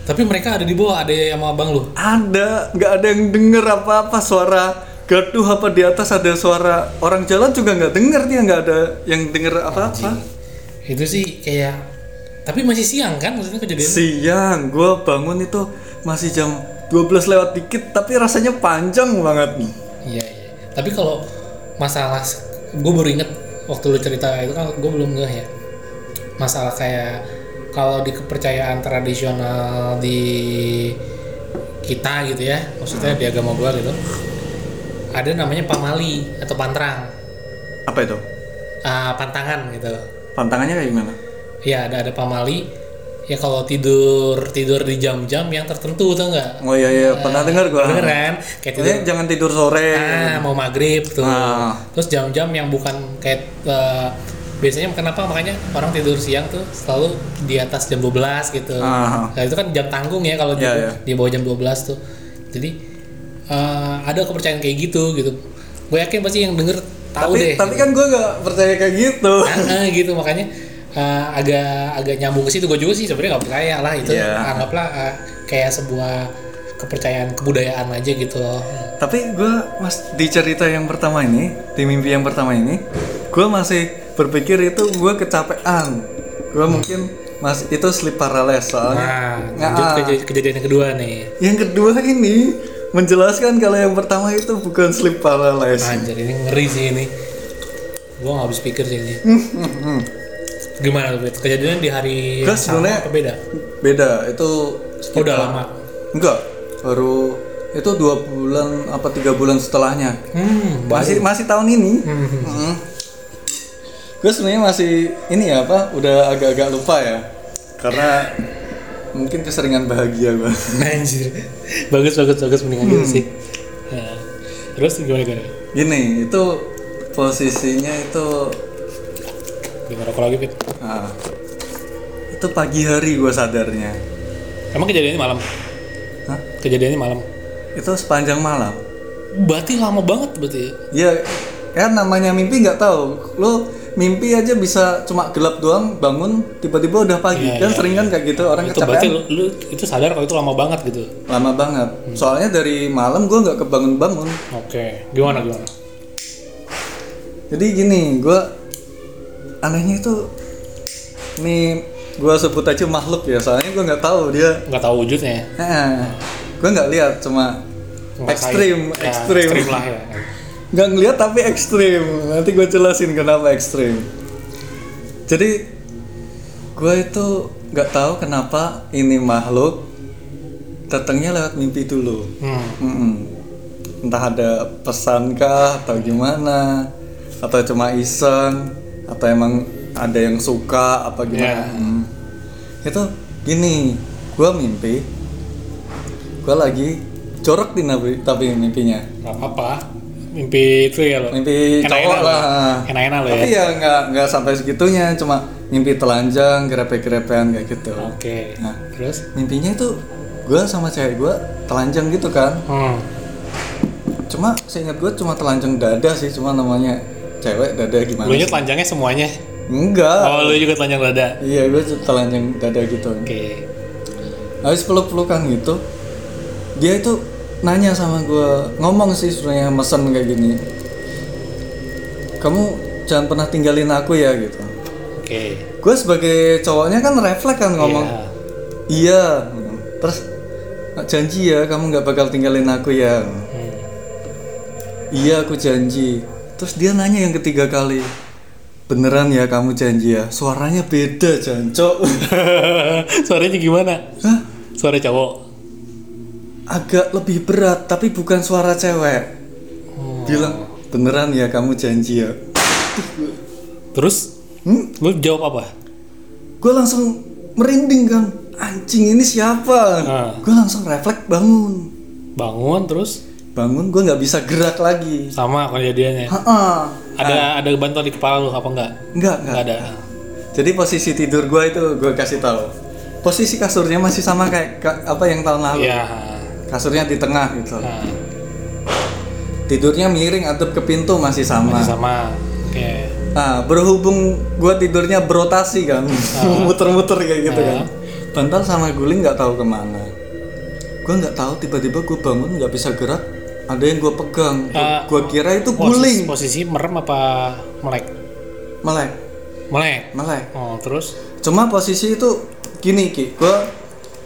[SPEAKER 2] Tapi mereka ada di bawah, ada yang sama abang lu.
[SPEAKER 1] ada nggak ada yang denger apa apa suara gaduh apa di atas ada suara orang jalan juga nggak denger dia nggak ada yang denger apa apa
[SPEAKER 2] Itu sih kayak tapi masih siang kan maksudnya kejadian.
[SPEAKER 1] siang gue bangun itu masih jam 12 lewat dikit tapi rasanya panjang banget nih
[SPEAKER 2] Iya iya. Tapi kalau masalah gue baru inget waktu lu cerita itu kan gue belum ngeh ya. Masalah kayak kalau di kepercayaan tradisional di kita gitu ya, maksudnya di agama gua gitu, ada namanya pamali atau pantrang,
[SPEAKER 1] apa itu
[SPEAKER 2] Ah, pantangan gitu.
[SPEAKER 1] pantangannya kayak gimana
[SPEAKER 2] Ya ada ada pamali. Ya kalau tidur tidur di jam-jam yang tertentu tuh enggak.
[SPEAKER 1] oh iya iya pernah denger gue
[SPEAKER 2] Beneran? Kayak tidur
[SPEAKER 1] Pokoknya jangan tidur sore
[SPEAKER 2] Ah, mau maghrib tuh.
[SPEAKER 1] Iya. Ah.
[SPEAKER 2] Terus jam-jam yang bukan kayak eh, biasanya kenapa makanya orang tidur siang tuh selalu di atas jam 12 gitu.
[SPEAKER 1] Ah.
[SPEAKER 2] Nah, itu kan jam tanggung ya kalau di-
[SPEAKER 1] Iya, iya.
[SPEAKER 2] di bawah jam 12 tuh. Jadi eh, ada kepercayaan kayak gitu gitu. Gue yakin pasti yang denger tahu
[SPEAKER 1] tapi
[SPEAKER 2] deh.
[SPEAKER 1] tapi kan gue nggak percaya kayak gitu
[SPEAKER 2] Ah, ah, gitu makanya eh, agak agak nyambung ke situ gue juga sih sebenarnya nggak percaya lah itu
[SPEAKER 1] Iya.
[SPEAKER 2] anggaplah eh, kayak sebuah kepercayaan kebudayaan aja gitu loh.
[SPEAKER 1] Tapi gue mas di cerita yang pertama ini, di mimpi yang pertama ini, gue masih berpikir itu gue kecapean. Gue mungkin mas itu sleep paralysis soalnya.
[SPEAKER 2] Nah, lanjut
[SPEAKER 1] Ah.
[SPEAKER 2] ke kejadian yang kedua nih.
[SPEAKER 1] Yang kedua ini menjelaskan kalau yang pertama itu bukan sleep paralysis.
[SPEAKER 2] Anjir, ini ngeri sih ini. Gua nggak habis pikir sih ini.
[SPEAKER 1] Mm-hmm.
[SPEAKER 2] Gimana tuh? Fit? Kejadiannya di hari
[SPEAKER 1] Gua
[SPEAKER 2] yang sama
[SPEAKER 1] sebenarnya-
[SPEAKER 2] apa beda?
[SPEAKER 1] Beda itu
[SPEAKER 2] Oh, udah lama.
[SPEAKER 1] enggak baru itu dua bulan apa tiga bulan setelahnya
[SPEAKER 2] Hmm,
[SPEAKER 1] masih masih tahun ini gue sebenarnya masih ini ya apa udah agak-agak lupa ya karena mungkin keseringan bahagia gue Hmm.
[SPEAKER 2] anjir. Nah, bagus bagus bagus mendingan gitu sih. Ya. Terus gimana gimana?
[SPEAKER 1] gini itu posisinya itu
[SPEAKER 2] Gimana kalau lagi Fit?
[SPEAKER 1] ah, itu pagi hari gue sadarnya
[SPEAKER 2] Emang kejadiannya malam?
[SPEAKER 1] Hah?
[SPEAKER 2] Kejadiannya malam.
[SPEAKER 1] itu sepanjang malam
[SPEAKER 2] Berarti lama banget berarti ya.
[SPEAKER 1] ya kan namanya mimpi nggak tahu lo mimpi aja bisa cuma gelap doang bangun tiba-tiba udah pagi
[SPEAKER 2] Iya,
[SPEAKER 1] kan
[SPEAKER 2] iya,
[SPEAKER 1] sering kan kayak gitu orang
[SPEAKER 2] Itu berarti
[SPEAKER 1] kecapean
[SPEAKER 2] lu, Hmm. lu itu sadar kalau itu lama banget gitu.
[SPEAKER 1] lama banget soalnya dari malam gue nggak kebangun-bangun
[SPEAKER 2] Oke, gimana gimana?
[SPEAKER 1] jadi gini gue anehnya itu nih gue sebut aja makhluk ya soalnya gue nggak tahu dia
[SPEAKER 2] Nggak tahu wujudnya ya.
[SPEAKER 1] gue nggak lihat cuma
[SPEAKER 2] Ngerasain.
[SPEAKER 1] ekstrim
[SPEAKER 2] Ya,
[SPEAKER 1] ekstrim
[SPEAKER 2] ekstrim lah ya.
[SPEAKER 1] nggak ngeliat tapi ekstrim nanti gue jelasin kenapa ekstrim jadi gue itu nggak tahu kenapa ini makhluk datangnya lewat mimpi dulu
[SPEAKER 2] Hmm.
[SPEAKER 1] Mm-mm. entah ada pesan kah atau gimana atau cuma iseng atau emang ada yang suka apa gimana
[SPEAKER 2] Yeah.
[SPEAKER 1] Mm. itu gini gue mimpi gue lagi jorok di nabi- tapi mimpinya
[SPEAKER 2] Gak apa-apa. Mimpi itu ya lo.
[SPEAKER 1] mimpi
[SPEAKER 2] Enak-enak
[SPEAKER 1] cowok
[SPEAKER 2] lo.
[SPEAKER 1] lah
[SPEAKER 2] Enak-enak lo ya.
[SPEAKER 1] tapi ya nggak nggak sampai segitunya cuma mimpi telanjang grepe-grepean kayak gitu
[SPEAKER 2] Oke.
[SPEAKER 1] Nah.
[SPEAKER 2] Terus?
[SPEAKER 1] mimpinya itu gue sama cewek gue telanjang gitu kan
[SPEAKER 2] Hmm.
[SPEAKER 1] cuma seingat gue cuma telanjang dada sih cuma namanya cewek dada gimana
[SPEAKER 2] Lu nya
[SPEAKER 1] sih?
[SPEAKER 2] telanjangnya semuanya.
[SPEAKER 1] enggak
[SPEAKER 2] Oh, lu juga telanjang dada.
[SPEAKER 1] iya gue telanjang dada gitu
[SPEAKER 2] Oke.
[SPEAKER 1] habis peluk-pelukan gitu dia itu nanya sama gue ngomong sih sebenarnya mesen kayak gini kamu jangan pernah tinggalin aku ya gitu
[SPEAKER 2] Oke.
[SPEAKER 1] gue sebagai cowoknya kan refleks kan ngomong
[SPEAKER 2] Iya.
[SPEAKER 1] iya terus janji ya kamu nggak bakal tinggalin aku ya
[SPEAKER 2] Hmm.
[SPEAKER 1] iya aku janji terus dia nanya yang ketiga kali beneran ya kamu janji ya suaranya beda jancok
[SPEAKER 2] Suaranya gimana?
[SPEAKER 1] Hah?
[SPEAKER 2] Suara cowok.
[SPEAKER 1] agak lebih berat tapi bukan suara cewek
[SPEAKER 2] Hmm.
[SPEAKER 1] bilang beneran ya kamu janji ya
[SPEAKER 2] Terus
[SPEAKER 1] hmm?
[SPEAKER 2] lu jawab apa?
[SPEAKER 1] gue langsung merinding kan anjing ini siapa
[SPEAKER 2] Ah.
[SPEAKER 1] gue langsung refleks bangun
[SPEAKER 2] Bangun terus
[SPEAKER 1] bangun gue nggak bisa gerak lagi
[SPEAKER 2] sama kejadiannya.
[SPEAKER 1] Ha-ha.
[SPEAKER 2] Ada ada bantuan di kepala lu apa enggak?
[SPEAKER 1] Enggak,
[SPEAKER 2] Enggak
[SPEAKER 1] enggak.
[SPEAKER 2] ada.
[SPEAKER 1] Jadi posisi tidur gua itu gua kasih tahu. Posisi kasurnya masih sama kayak ka- apa yang tahun lalu.
[SPEAKER 2] Iya.
[SPEAKER 1] Kasurnya di tengah gitu.
[SPEAKER 2] Nah,
[SPEAKER 1] Tidurnya miring atap ke pintu masih sama.
[SPEAKER 2] masih sama. Oke.
[SPEAKER 1] Nah, berhubung gua tidurnya berotasi kan, muter-muter kayak gitu kan.
[SPEAKER 2] Ah.
[SPEAKER 1] Bantal sama guling nggak tahu kemana. Gua nggak tahu tiba-tiba gua bangun nggak bisa gerak. Ada yang gua pegang. Gua,
[SPEAKER 2] Ah.
[SPEAKER 1] gua kira itu
[SPEAKER 2] Posisi,
[SPEAKER 1] guling.
[SPEAKER 2] posisi merem apa melek?
[SPEAKER 1] Melek,
[SPEAKER 2] Melek.
[SPEAKER 1] melek.
[SPEAKER 2] Oh, terus
[SPEAKER 1] Cuma posisi itu gini Ki, gue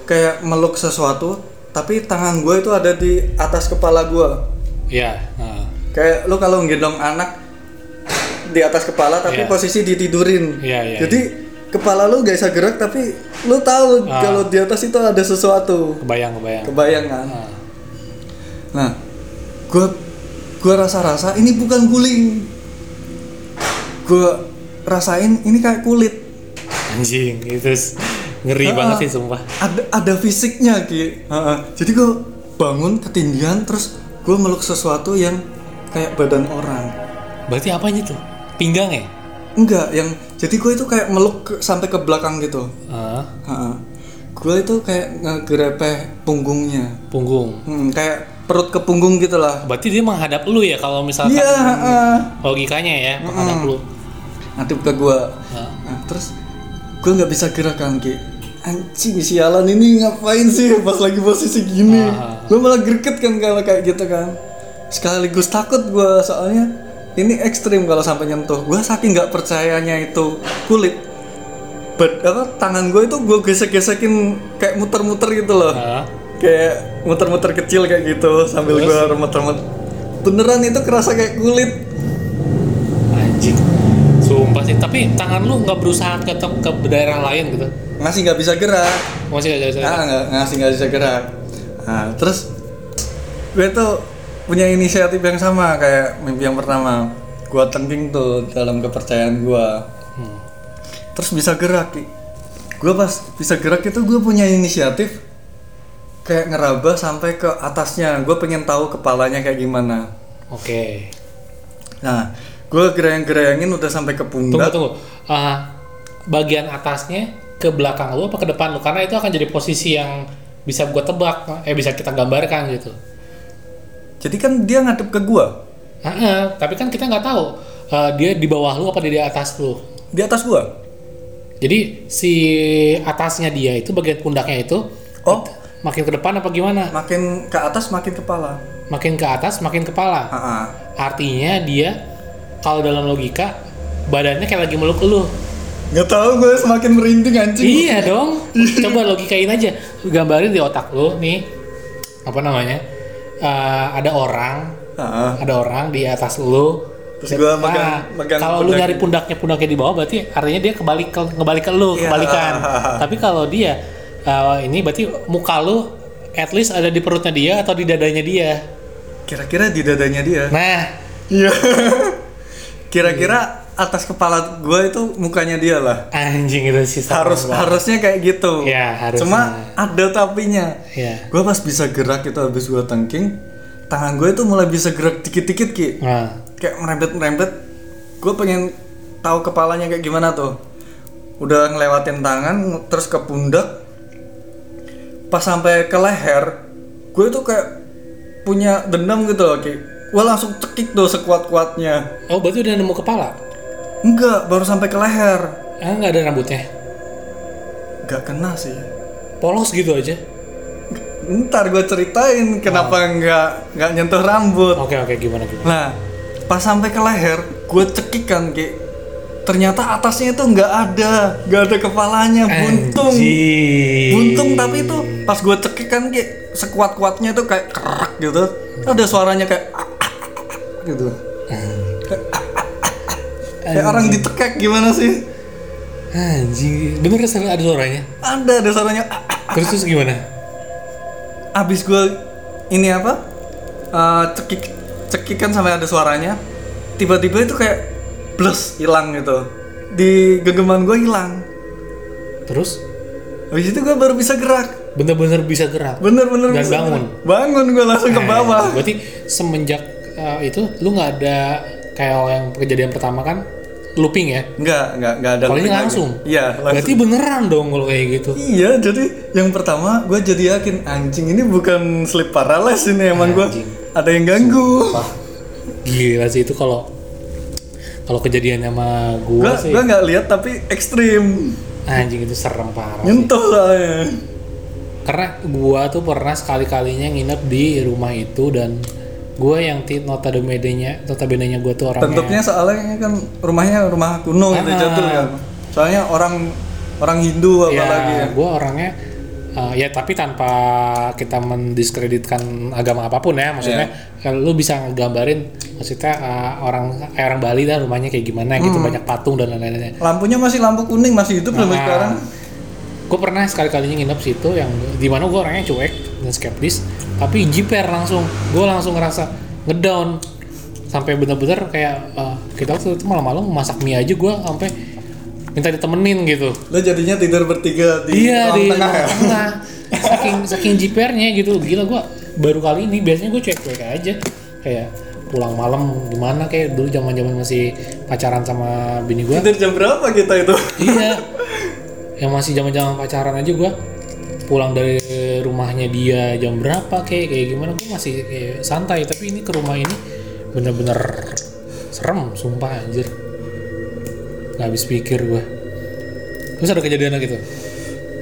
[SPEAKER 1] kayak meluk sesuatu tapi tangan gue itu ada di atas kepala gue.
[SPEAKER 2] ya. Nah.
[SPEAKER 1] Kayak lu kalau gendong anak di atas kepala tapi
[SPEAKER 2] Iya.
[SPEAKER 1] posisi ditidurin.
[SPEAKER 2] Iya, iya,
[SPEAKER 1] Jadi kepala lu gak bisa gerak tapi lu tahu
[SPEAKER 2] Ah.
[SPEAKER 1] kalau di atas itu ada sesuatu.
[SPEAKER 2] Kebayang, kebayang.
[SPEAKER 1] Kebayangan.
[SPEAKER 2] Nah.
[SPEAKER 1] Nah, gue gua rasa-rasa ini bukan guling. Gue rasain ini kayak kulit.
[SPEAKER 2] Anjing, itu s- ngeri
[SPEAKER 1] Ah.
[SPEAKER 2] banget sih sumpah.
[SPEAKER 1] ada ada fisiknya ki Heeh. jadi gue bangun ketindihan terus gue meluk sesuatu yang kayak badan orang
[SPEAKER 2] Berarti apanya tuh? Pinggang ya?
[SPEAKER 1] enggak yang jadi gue itu kayak meluk ke- sampai ke belakang gitu
[SPEAKER 2] Ah,
[SPEAKER 1] Heeh. gue itu kayak ngegerepeh punggungnya
[SPEAKER 2] punggung.
[SPEAKER 1] Hmm, kayak perut ke punggung gitu lah
[SPEAKER 2] Berarti dia menghadap lu ya kalau misalkan
[SPEAKER 1] iya heeh.
[SPEAKER 2] logikanya ya, menghadap lu.
[SPEAKER 1] ngadep ke gue
[SPEAKER 2] Nah.
[SPEAKER 1] nah, terus gue nggak bisa gerakan ki anjing sialan ini ngapain sih pas lagi posisi gini
[SPEAKER 2] Ah.
[SPEAKER 1] Gua malah greget kan kalau kayak gitu kan sekaligus takut gue soalnya ini ekstrim kalau sampai nyentuh gue saking nggak percayanya itu kulit But, apa tangan gue itu gue gesek-gesekin kayak muter-muter gitu loh
[SPEAKER 2] Ah.
[SPEAKER 1] kayak muter-muter kecil kayak gitu sambil
[SPEAKER 2] Terus?
[SPEAKER 1] gue remet-remet beneran itu kerasa kayak kulit
[SPEAKER 2] Anjing. Sumpah sih, tapi tangan lu nggak berusaha ke, tem- ke daerah lain gitu.
[SPEAKER 1] masih nggak bisa gerak
[SPEAKER 2] Oh, Masih gak
[SPEAKER 1] Ah,
[SPEAKER 2] jalan
[SPEAKER 1] nggak ngasih nggak bisa gerak. Nah, terus gue tuh punya inisiatif yang sama kayak mimpi yang pertama. Gua tengking tuh dalam kepercayaan gua.
[SPEAKER 2] Hmm.
[SPEAKER 1] Terus bisa gerak. Ki. Gua pas bisa gerak itu gue punya inisiatif kayak ngeraba sampai ke atasnya. Gue pengen tahu kepalanya kayak gimana.
[SPEAKER 2] Oke.
[SPEAKER 1] Nah, gue gerayang-gerayangin udah sampai ke
[SPEAKER 2] Tunggu
[SPEAKER 1] pundak
[SPEAKER 2] tunggu. Ah, bagian atasnya ke belakang lu apa ke depan lu karena itu akan jadi posisi yang bisa gua tebak eh bisa kita gambarkan gitu.
[SPEAKER 1] jadi kan dia ngadep ke gue
[SPEAKER 2] Ah, ah, tapi kan kita nggak tahu ah, dia di bawah lu apa dia di atas lu.
[SPEAKER 1] di atas gue
[SPEAKER 2] Jadi si atasnya dia itu bagian pundaknya itu
[SPEAKER 1] oh
[SPEAKER 2] makin ke depan apa gimana?
[SPEAKER 1] makin ke atas makin kepala
[SPEAKER 2] Makin ke atas makin kepala.
[SPEAKER 1] ah
[SPEAKER 2] Artinya dia kalau dalam logika badannya kayak lagi meluk lu.
[SPEAKER 1] nggak tahu gue semakin merinding anjing
[SPEAKER 2] Iya dong. Coba logikain aja. Gambarin di otak lu nih apa namanya? Eh, ada orang,
[SPEAKER 1] Ah,
[SPEAKER 2] ada orang di atas lu.
[SPEAKER 1] Terus gua
[SPEAKER 2] Nah,
[SPEAKER 1] megang- megang
[SPEAKER 2] kalau lu
[SPEAKER 1] pundak.
[SPEAKER 2] nyari pundaknya pundaknya di bawah berarti artinya dia kebalik ke kebalik ke lu,
[SPEAKER 1] Iya.
[SPEAKER 2] kebalikan. Tapi kalau dia eh, ini berarti muka lu at least ada di perutnya dia atau di dadanya dia.
[SPEAKER 1] kira-kira di dadanya dia
[SPEAKER 2] Nah,
[SPEAKER 1] iya kira-kira atas kepala gue itu mukanya dia lah
[SPEAKER 2] anjing itu sih serem
[SPEAKER 1] harus
[SPEAKER 2] banget.
[SPEAKER 1] harusnya kayak gitu
[SPEAKER 2] Iya, harusnya.
[SPEAKER 1] cuma ada tapinya
[SPEAKER 2] Iya.
[SPEAKER 1] gue pas bisa gerak itu habis gue tengking tangan gue itu mulai bisa gerak dikit-dikit ki
[SPEAKER 2] Nah,
[SPEAKER 1] kayak merembet merembet gue pengen tahu kepalanya kayak gimana tuh udah ngelewatin tangan terus ke pundak pas sampai ke leher gue tuh kayak punya dendam gitu loh ki gue langsung cekik tuh sekuat kuatnya
[SPEAKER 2] oh berarti udah nemu kepala?
[SPEAKER 1] enggak baru sampai ke leher
[SPEAKER 2] Ah, nggak ada rambutnya?
[SPEAKER 1] nggak kena sih
[SPEAKER 2] Polos gitu aja?
[SPEAKER 1] ntar gue ceritain kenapa nggak nggak nyentuh rambut
[SPEAKER 2] Oke oke gimana gimana?
[SPEAKER 1] Nah, pas sampai ke leher, gue cekik kan, Ki. Ternyata atasnya itu nggak ada, nggak ada kepalanya, buntung,
[SPEAKER 2] Anjing.
[SPEAKER 1] buntung. Tapi itu pas gue cekik kan, Ki, sekuat kuatnya itu kayak kerak gitu. Ada suaranya kayak ah, gitu. Kayak orang ditekek gimana sih?
[SPEAKER 2] Anjing, bener kan ada suaranya?
[SPEAKER 1] Ada, ada suaranya. ah,
[SPEAKER 2] Terus terus gimana?
[SPEAKER 1] Abis gue ini apa? eh, cekik, cekik kan sampai ada suaranya. Tiba-tiba itu kayak blus hilang gitu. Di genggaman gue hilang.
[SPEAKER 2] Terus
[SPEAKER 1] Habis itu gue baru bisa gerak.
[SPEAKER 2] bener-bener bisa gerak.
[SPEAKER 1] Bener-bener
[SPEAKER 2] Dan
[SPEAKER 1] bisa
[SPEAKER 2] bangun.
[SPEAKER 1] gerak. Bangun gue langsung ke bawah.
[SPEAKER 2] Eh, berarti semenjak eh, itu lu nggak ada kayak yang kejadian pertama kan looping ya?
[SPEAKER 1] Enggak, enggak, enggak ada.
[SPEAKER 2] Kalau ini
[SPEAKER 1] lagi.
[SPEAKER 2] langsung?
[SPEAKER 1] Iya, langsung.
[SPEAKER 2] Berarti beneran dong kalau kayak gitu.
[SPEAKER 1] Iya, jadi yang pertama gue jadi yakin anjing ini bukan sleep paralysis ini emang gue
[SPEAKER 2] Anjing.
[SPEAKER 1] ada yang ganggu.
[SPEAKER 2] Wah, gila sih itu kalau kalau kejadian sama
[SPEAKER 1] Gue
[SPEAKER 2] gua sih
[SPEAKER 1] gue nggak lihat tapi ekstrim
[SPEAKER 2] anjing itu serem parah. sih.
[SPEAKER 1] nyentuh soalnya.
[SPEAKER 2] karena gua tuh pernah sekali kalinya nginep di rumah itu dan gua yang ti nota nya nota nya gua tuh orangnya
[SPEAKER 1] Bentuknya soalnya kan rumahnya rumah kuno gitu
[SPEAKER 2] Ah.
[SPEAKER 1] jatuh kan. Soalnya orang orang Hindu
[SPEAKER 2] ya
[SPEAKER 1] apalagi ya.
[SPEAKER 2] gua orangnya eh, ya tapi tanpa kita mendiskreditkan agama apapun ya maksudnya kalau lu bisa gambarin maksudnya eh, orang eh, orang Bali dah rumahnya kayak gimana gitu banyak patung dan lain-lainnya
[SPEAKER 1] Lampunya masih lampu kuning masih hidup sampai
[SPEAKER 2] Ah.
[SPEAKER 1] sekarang.
[SPEAKER 2] gue pernah sekali kalinya nginep situ yang dimana gue orangnya cuek dan skeptis tapi jiper langsung gue langsung ngerasa ngedown sampai bener-bener kayak eh, kita waktu itu malam-malam masak mie aja gue sampai minta ditemenin gitu
[SPEAKER 1] Lo jadinya tidur bertiga di
[SPEAKER 2] iya
[SPEAKER 1] ruang
[SPEAKER 2] di
[SPEAKER 1] tengah ya.
[SPEAKER 2] tengah saking saking jipernya gitu gila gue baru kali ini biasanya gue cuek-cuek aja kayak pulang malam gimana kayak dulu zaman-zaman masih pacaran sama bini gue
[SPEAKER 1] Tidur jam berapa kita itu?
[SPEAKER 2] iya yang masih zaman zaman pacaran aja gua pulang dari rumahnya dia jam berapa kayak kayak gimana gue masih kayak santai tapi ini ke rumah ini bener-bener serem sumpah anjir nggak habis pikir gua terus ada kejadian lagi tuh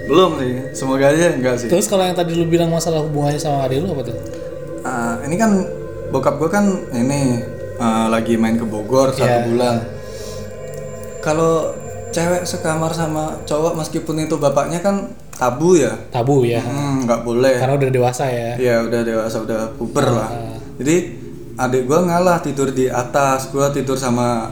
[SPEAKER 1] Belum sih, semoga aja enggak sih.
[SPEAKER 2] terus kalau yang tadi lu bilang masalah hubungannya sama adik lu apa tuh
[SPEAKER 1] Ah, ini kan bokap gue kan ini ah, lagi main ke Bogor satu
[SPEAKER 2] Iya.
[SPEAKER 1] bulan. Kalau cewek sekamar sama cowok meskipun itu bapaknya kan tabu ya,
[SPEAKER 2] tabu ya
[SPEAKER 1] Hmm, nggak boleh.
[SPEAKER 2] karena udah dewasa ya
[SPEAKER 1] Ya udah dewasa udah puber lah.
[SPEAKER 2] Eh.
[SPEAKER 1] Jadi adik gua ngalah tidur di atas, gua tidur sama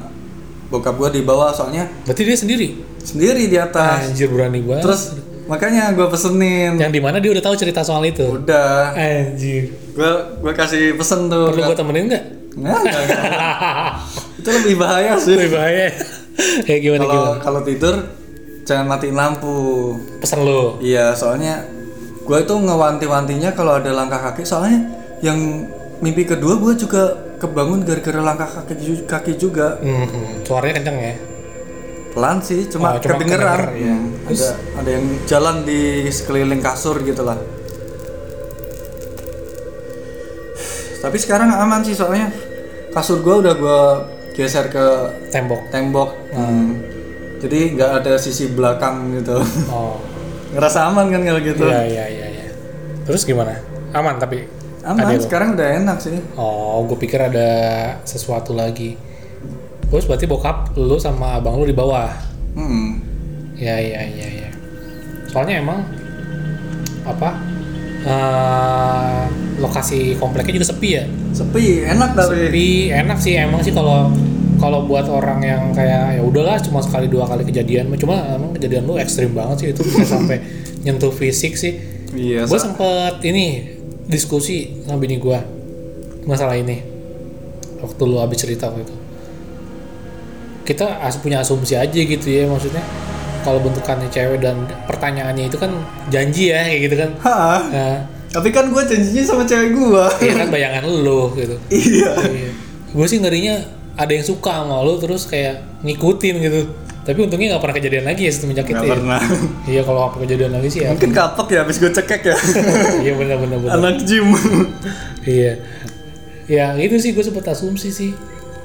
[SPEAKER 1] bokap gua di bawah soalnya
[SPEAKER 2] berarti dia sendiri
[SPEAKER 1] sendiri di atas.
[SPEAKER 2] anjir berani banget terus
[SPEAKER 1] Nah. Terus makanya gua pesenin.
[SPEAKER 2] yang dimana dia udah tahu cerita soal itu
[SPEAKER 1] Udah,
[SPEAKER 2] anjir
[SPEAKER 1] gua gua kasih pesen tuh.
[SPEAKER 2] perlu gua temenin nggak
[SPEAKER 1] Nggak, nggak, nggak. Itu lebih bahaya sih.
[SPEAKER 2] lebih bahaya ya gimana gimana
[SPEAKER 1] Kalau kalau tidur jangan matiin lampu.
[SPEAKER 2] pesan lo
[SPEAKER 1] Iya, soalnya gua itu ngewanti-wantinya kalau ada langkah kaki. Soalnya yang mimpi kedua gua juga kebangun gara-gara langkah kaki, ju- kaki juga
[SPEAKER 2] Mhm, Suaranya kenceng ya.
[SPEAKER 1] pelan sih cuma,
[SPEAKER 2] Oh, cuma
[SPEAKER 1] kedengeran
[SPEAKER 2] kedenger, iya.
[SPEAKER 1] Hmm, ada ada yang jalan di sekeliling kasur gitu lah tapi sekarang aman sih soalnya kasur gua udah gua geser ke
[SPEAKER 2] Tembok.
[SPEAKER 1] tembok
[SPEAKER 2] Hmm.
[SPEAKER 1] jadi nggak ada sisi belakang gitu
[SPEAKER 2] Oh.
[SPEAKER 1] ngerasa aman kan kalau gitu
[SPEAKER 2] Iya iya iya. iya. Terus gimana? Aman tapi.
[SPEAKER 1] aman sekarang udah enak sih
[SPEAKER 2] Oh, gue pikir ada sesuatu lagi. Terus berarti bokap lu sama abang lu di bawah.
[SPEAKER 1] hmm.
[SPEAKER 2] Ya ya ya ya. Soalnya emang apa? eh, lokasi kompleknya juga sepi ya.
[SPEAKER 1] sepi enak tapi
[SPEAKER 2] Tapi enak sih emang sih kalau kalau buat orang yang kayak ya udahlah cuma sekali dua kali kejadian cuma emang kejadian lu ekstrim banget sih itu bisa sampai nyentuh fisik sih
[SPEAKER 1] iya
[SPEAKER 2] gue
[SPEAKER 1] Sa.
[SPEAKER 2] sempet ini diskusi sama bini gue masalah ini waktu lu habis cerita waktu itu kita as punya asumsi aja gitu ya maksudnya kalau bentukannya cewek dan pertanyaannya itu kan janji ya kayak gitu kan
[SPEAKER 1] Hah?
[SPEAKER 2] nah,
[SPEAKER 1] tapi kan gue janjinya sama cewek gue
[SPEAKER 2] iya kan bayangan lu gitu
[SPEAKER 1] iya
[SPEAKER 2] gue sih ngerinya ada yang suka sama lu terus kayak ngikutin gitu tapi untungnya nggak pernah kejadian lagi ya semenjak
[SPEAKER 1] nggak
[SPEAKER 2] itu ya.
[SPEAKER 1] pernah
[SPEAKER 2] iya kalau apa kejadian lagi sih ya
[SPEAKER 1] mungkin kapok ya habis gue cekek ya
[SPEAKER 2] iya benar-benar
[SPEAKER 1] anak gym
[SPEAKER 2] Iya. Ya itu sih gue sempet asumsi sih.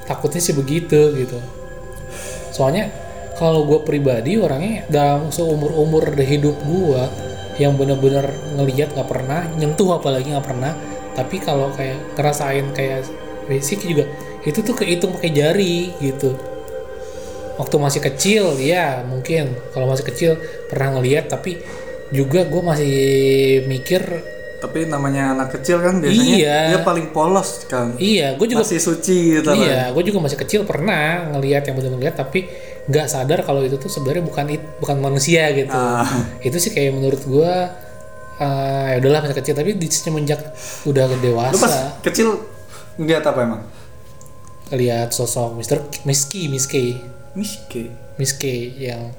[SPEAKER 2] Takutnya sih begitu gitu. Soalnya kalau gue pribadi orangnya dalam seumur umur hidup gue yang bener-bener ngelihat nggak pernah nyentuh apalagi nggak pernah tapi kalau kayak ngerasain kayak basic juga itu tuh kehitung pakai jari gitu waktu masih kecil ya mungkin kalau masih kecil pernah ngelihat tapi juga gue masih mikir
[SPEAKER 1] tapi namanya anak kecil kan biasanya
[SPEAKER 2] Iya.
[SPEAKER 1] dia paling polos kan
[SPEAKER 2] iya gue juga
[SPEAKER 1] masih suci gitu lah
[SPEAKER 2] Iya, gue juga masih kecil pernah ngelihat yang benar-benar ngelihat tapi nggak sadar kalau itu tuh sebenarnya bukan it- bukan manusia gitu.
[SPEAKER 1] Ah.
[SPEAKER 2] Itu sih kayak menurut gue eh, ya udahlah masih kecil tapi di semenjak udah
[SPEAKER 1] lu pas
[SPEAKER 2] dewasa
[SPEAKER 1] kecil ngeliat apa emang
[SPEAKER 2] lihat sosok Mister Miski Miski
[SPEAKER 1] miski
[SPEAKER 2] Miski yang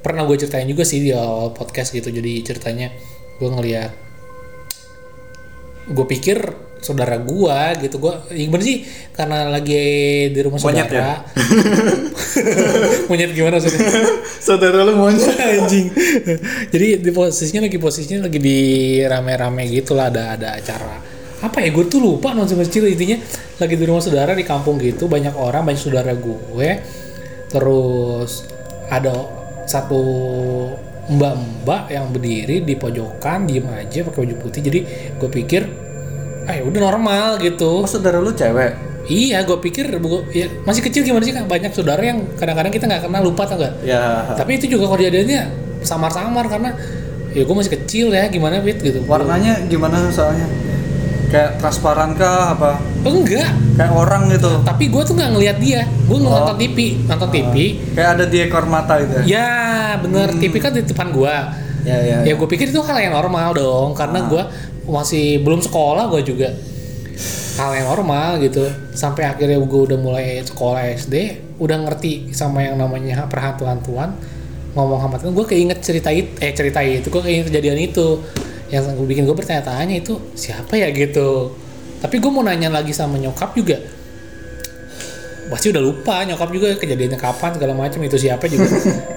[SPEAKER 2] pernah gue ceritain juga sih di awal podcast gitu jadi ceritanya gue ngelihat gue pikir saudara gue gitu gue ya bener sih karena lagi di rumah
[SPEAKER 1] Monyet
[SPEAKER 2] saudara monyet gimana maksudnya
[SPEAKER 1] saudara lu monyet
[SPEAKER 2] anjing jadi di posisinya lagi posisinya lagi di rame-rame gitu lah ada ada acara apa ya gue tuh lupa nonton kecil intinya lagi di rumah saudara di kampung gitu banyak orang banyak saudara gue terus ada satu mbak-mbak yang berdiri di pojokan diem aja pakai baju putih jadi gue pikir ah ya udah normal gitu
[SPEAKER 1] oh saudara lu cewek
[SPEAKER 2] iya gue pikir gua- ya, masih kecil gimana sih kan banyak saudara yang kadang-kadang kita nggak kenal lupa tau nggak
[SPEAKER 1] ya
[SPEAKER 2] tapi itu juga kejadiannya samar-samar karena ya gue masih kecil ya gimana Fit gitu
[SPEAKER 1] warnanya gimana soalnya kayak transparan kah apa
[SPEAKER 2] Oh, enggak
[SPEAKER 1] kayak orang gitu
[SPEAKER 2] tapi gue tuh nggak ngelihat dia gue nonton TV nonton TV
[SPEAKER 1] kayak ada di ekor mata gitu ya
[SPEAKER 2] ya bener TV kan di depan gue
[SPEAKER 1] ya ya,
[SPEAKER 2] ya gue pikir itu hal yang normal dong karena gue masih belum sekolah gue juga hal yang normal gitu sampai akhirnya gue udah mulai sekolah SD udah ngerti sama yang namanya perhantu-hantuan ngomong sama temen gue keinget cerita itu eh cerita itu gue keinget kejadian itu yang gue bikin gue bertanya-tanya itu siapa ya gitu tapi gue mau nanya lagi sama nyokap juga pasti udah lupa nyokap juga kejadiannya kapan segala macam itu siapa juga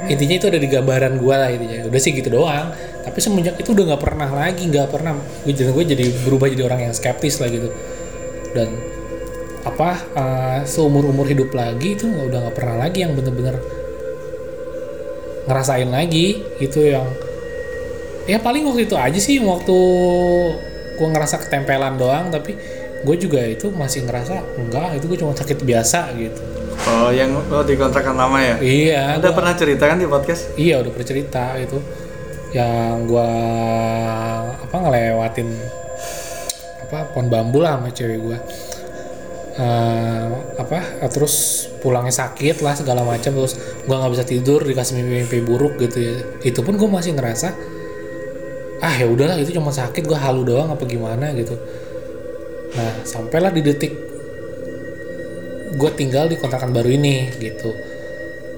[SPEAKER 2] intinya itu ada di gambaran gue lah intinya udah sih gitu doang tapi semenjak itu udah nggak pernah lagi nggak pernah gue jadi gue jadi berubah jadi orang yang skeptis lah gitu dan apa seumur umur hidup lagi itu nggak udah nggak pernah lagi yang bener-bener ngerasain lagi itu yang ya paling waktu itu aja sih waktu gue ngerasa ketempelan doang tapi gue juga itu masih ngerasa enggak itu gue cuma sakit biasa gitu
[SPEAKER 1] oh yang lo di kontrakan lama ya
[SPEAKER 2] iya
[SPEAKER 1] Anda
[SPEAKER 2] gua-
[SPEAKER 1] pernah cerita kan di podcast?
[SPEAKER 2] iya udah bercerita itu yang gue apa ngelewatin apa pohon bambu lah sama cewek gue apa terus pulangnya sakit lah segala macam terus gue nggak bisa tidur dikasih mimpi-mimpi buruk gitu ya itu pun gue masih ngerasa ah ya udahlah itu cuma sakit gue halu doang apa gimana gitu nah sampailah di detik gue tinggal di kontrakan baru ini gitu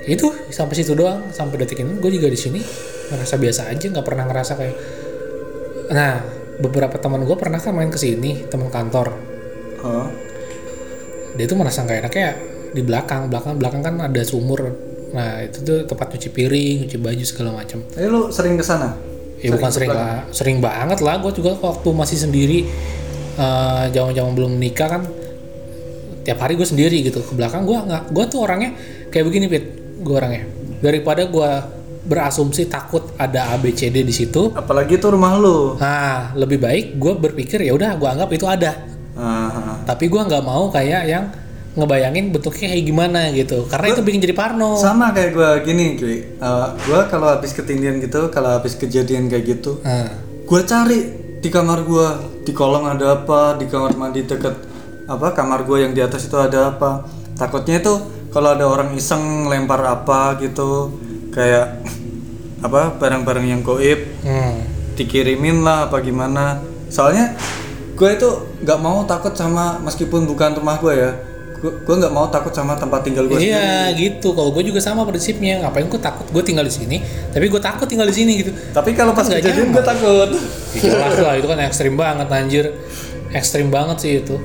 [SPEAKER 2] itu sampai situ doang sampai detik ini gue juga di sini ngerasa biasa aja nggak pernah ngerasa kayak nah beberapa teman gue pernah kan main ke sini teman kantor
[SPEAKER 1] Oh.
[SPEAKER 2] dia tuh merasa nggak enaknya di belakang belakang belakang kan ada sumur nah itu tuh tempat cuci piring cuci baju segala macam
[SPEAKER 1] Jadi lu sering ke sana?
[SPEAKER 2] ya bukan sering lah sering banget lah gue juga waktu masih sendiri eh, zaman-zaman belum menikah kan tiap hari gue sendiri gitu ke belakang gue nggak gue tuh orangnya kayak begini pit gue orangnya daripada gue berasumsi takut ada ABCD di situ
[SPEAKER 1] Apalagi itu rumah lu.
[SPEAKER 2] nah lebih baik gue berpikir ya udah gue anggap itu ada
[SPEAKER 1] Ah,
[SPEAKER 2] tapi gue nggak mau kayak yang ngebayangin bentuknya kayak gimana gitu karena itu bikin jadi parno
[SPEAKER 1] sama kayak gua gini, cuy. Eh, gua kalau habis ketindihan gitu, kalau habis kejadian kayak gitu,
[SPEAKER 2] Nah,
[SPEAKER 1] gua cari di kamar gua, di kolong ada apa, di kamar mandi deket apa kamar gua yang di atas itu ada apa. Takutnya itu kalau ada orang iseng lempar apa gitu, kayak apa barang-barang yang goib
[SPEAKER 2] hmm.
[SPEAKER 1] dikirimin lah apa gimana soalnya gue itu nggak mau takut sama meskipun bukan rumah gue ya Gue- gue nggak mau takut sama tempat tinggal gue
[SPEAKER 2] Iya gitu. Kalau gue juga sama prinsipnya. Ngapain gue takut? Gue tinggal di sini. Tapi gue takut tinggal di sini gitu.
[SPEAKER 1] tapi kalau pas
[SPEAKER 2] Nggak
[SPEAKER 1] kejadian gue takut
[SPEAKER 2] Ya, jelas lah itu kan ekstrim banget anjir. Ekstrim banget sih itu.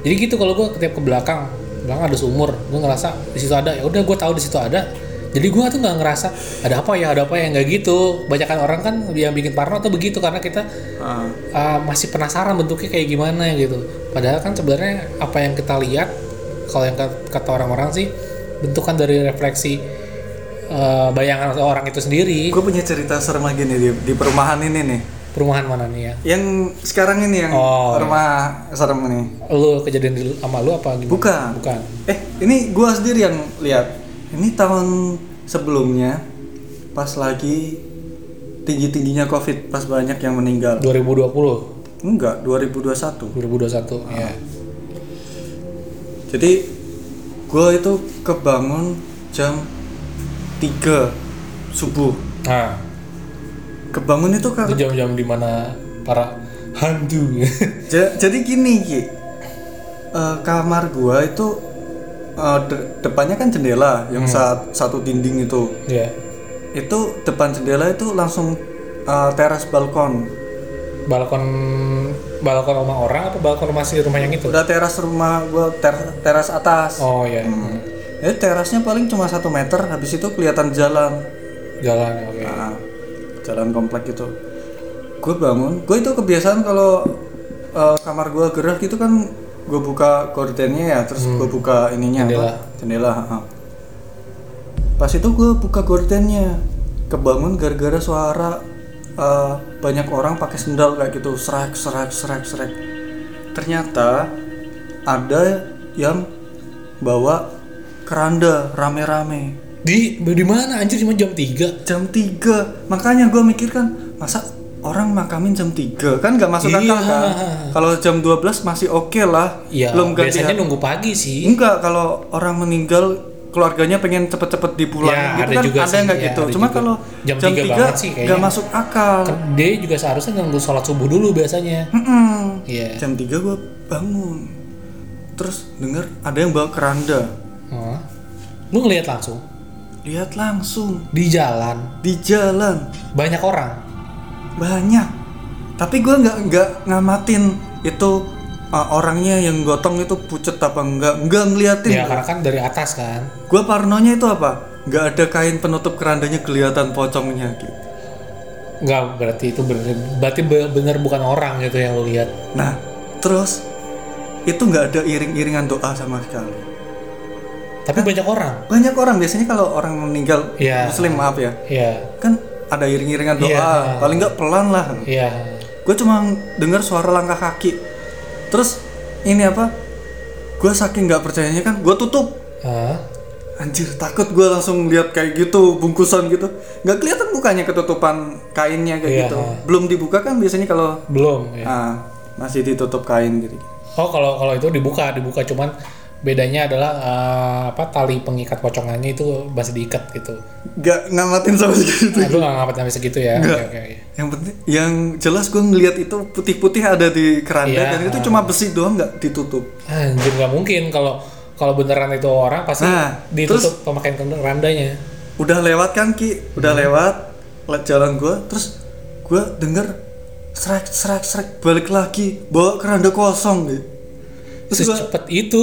[SPEAKER 2] Jadi gitu kalau gue tiap ke belakang, belakang ada sumur, gue ngerasa di situ ada. Ya udah gue tahu di situ ada. Jadi gue tuh nggak ngerasa ada apa ya, ada apa ya nggak gitu. Banyakan orang kan yang bikin parno tuh begitu karena kita
[SPEAKER 1] Ah,
[SPEAKER 2] uh, masih penasaran bentuknya kayak gimana gitu. Padahal kan sebenarnya apa yang kita lihat, kalau yang kat- kata orang-orang sih bentukan dari refleksi uh, bayangan orang itu sendiri.
[SPEAKER 1] gue punya cerita serem lagi nih di, di perumahan ini nih
[SPEAKER 2] Perumahan mana nih ya?
[SPEAKER 1] yang sekarang ini yang
[SPEAKER 2] Oh,
[SPEAKER 1] rumah serem ini
[SPEAKER 2] Lu kejadian di, sama lu apa gimana?
[SPEAKER 1] bukan
[SPEAKER 2] Bukan.
[SPEAKER 1] eh ini gue sendiri yang lihat ini tahun sebelumnya pas lagi tinggi tingginya covid pas banyak yang meninggal
[SPEAKER 2] 2020,
[SPEAKER 1] enggak 2021
[SPEAKER 2] 2021. Ya.
[SPEAKER 1] Jadi gue itu kebangun jam 3 subuh.
[SPEAKER 2] Nah,
[SPEAKER 1] Kebangun itu
[SPEAKER 2] itu
[SPEAKER 1] kan
[SPEAKER 2] jam-jam dimana para hantu.
[SPEAKER 1] ja- jadi gini Ki. Eh, kamar gua itu eh, de- depannya kan jendela yang saat satu dinding itu.
[SPEAKER 2] ya.
[SPEAKER 1] Itu depan jendela itu langsung eh, teras balkon.
[SPEAKER 2] Balkon balkon rumah orang apa balkon rumah si rumah yang itu?
[SPEAKER 1] Udah teras rumah gua ter- teras atas.
[SPEAKER 2] Oh ya.
[SPEAKER 1] Hmm. Jadi terasnya paling cuma satu meter, habis itu kelihatan jalan.
[SPEAKER 2] Jalan oke.
[SPEAKER 1] Nah, jalan komplek gitu gue bangun gue itu kebiasaan kalau eh, kamar gue gerah gitu kan gue buka gordennya ya terus gue buka ininya apa?
[SPEAKER 2] Jendela.
[SPEAKER 1] jendela ha. pas itu gue buka gordennya kebangun gara-gara suara eh, banyak orang pakai sendal kayak gitu serak serak serak serak ternyata ada yang bawa keranda rame-rame
[SPEAKER 2] Di di mana anjir cuma jam 3?
[SPEAKER 1] jam 3 makanya gue mikir kan masa orang makamin jam 3 kan nggak masuk akal
[SPEAKER 2] Iya.
[SPEAKER 1] kan kalau jam 12 masih oke lah
[SPEAKER 2] Iya,
[SPEAKER 1] belum ganti
[SPEAKER 2] biasanya
[SPEAKER 1] hari.
[SPEAKER 2] nunggu pagi sih.
[SPEAKER 1] enggak kalau orang meninggal keluarganya pengen cepet-cepet dipulangin
[SPEAKER 2] Ya,
[SPEAKER 1] gitu
[SPEAKER 2] ada
[SPEAKER 1] kan
[SPEAKER 2] juga
[SPEAKER 1] ada
[SPEAKER 2] sih.
[SPEAKER 1] nggak
[SPEAKER 2] Ya,
[SPEAKER 1] gitu
[SPEAKER 2] ada
[SPEAKER 1] cuma
[SPEAKER 2] juga.
[SPEAKER 1] kalau
[SPEAKER 2] Jam
[SPEAKER 1] jam,
[SPEAKER 2] tiga
[SPEAKER 1] 3
[SPEAKER 2] banget sih kayaknya.
[SPEAKER 1] nggak masuk akal
[SPEAKER 2] Kan Dia juga seharusnya nunggu sholat subuh dulu biasanya.
[SPEAKER 1] Mm-mm.
[SPEAKER 2] Iya.
[SPEAKER 1] jam 3 gue bangun terus denger ada yang bawa keranda
[SPEAKER 2] Oh. Lu ngelihat langsung
[SPEAKER 1] lihat langsung
[SPEAKER 2] di jalan
[SPEAKER 1] di jalan
[SPEAKER 2] banyak orang.
[SPEAKER 1] banyak tapi gue nggak nggak ngamatin itu uh, orangnya yang gotong itu pucet apa enggak nggak ngeliatin
[SPEAKER 2] Ya karena kan dari atas kan.
[SPEAKER 1] gue parnonya itu apa nggak ada kain penutup kerandanya kelihatan pocongnya gitu
[SPEAKER 2] Enggak berarti itu bener, berarti be- bener bukan orang gitu yang lu lihat.
[SPEAKER 1] nah terus itu nggak ada iring-iringan doa sama sekali
[SPEAKER 2] Tapi banyak orang.
[SPEAKER 1] banyak orang biasanya kalau orang meninggal
[SPEAKER 2] Iya.
[SPEAKER 1] muslim maaf ya
[SPEAKER 2] Iya.
[SPEAKER 1] kan ada iring-iringan doa
[SPEAKER 2] Iya.
[SPEAKER 1] paling nggak pelan lah
[SPEAKER 2] Iya.
[SPEAKER 1] gue cuma dengar suara langkah kaki terus ini apa gue saking nggak percayanya kan gue tutup
[SPEAKER 2] Hah?
[SPEAKER 1] Anjir takut gue langsung lihat kayak gitu bungkusan gitu nggak kelihatan mukanya ketutupan kainnya kayak
[SPEAKER 2] Iya.
[SPEAKER 1] gitu belum dibuka kan biasanya kalau
[SPEAKER 2] Belum ya.
[SPEAKER 1] ah, masih ditutup kain gitu
[SPEAKER 2] Oh kalau kalau itu dibuka dibuka cuman bedanya adalah eh, apa tali pengikat pocongannya itu masih diikat gitu.
[SPEAKER 1] nggak ngamatin sama sekali itu.
[SPEAKER 2] Lu Nah, nggak ngapain sampai segitu ya? Oke oke. oke.
[SPEAKER 1] yang penting yang jelas gue ngelihat itu putih-putih ada di keranda
[SPEAKER 2] Iya.
[SPEAKER 1] dan itu cuma besi doang nggak ditutup
[SPEAKER 2] Anjir nggak mungkin kalau kalau beneran itu orang pasti
[SPEAKER 1] Nah,
[SPEAKER 2] ditutup pemakaian kend- randanya.
[SPEAKER 1] udah lewat kan ki udah
[SPEAKER 2] Iya.
[SPEAKER 1] lewat lewat jalan gue terus gue denger serak serak serak balik lagi bawa keranda kosong gitu terus gue
[SPEAKER 2] Secepat itu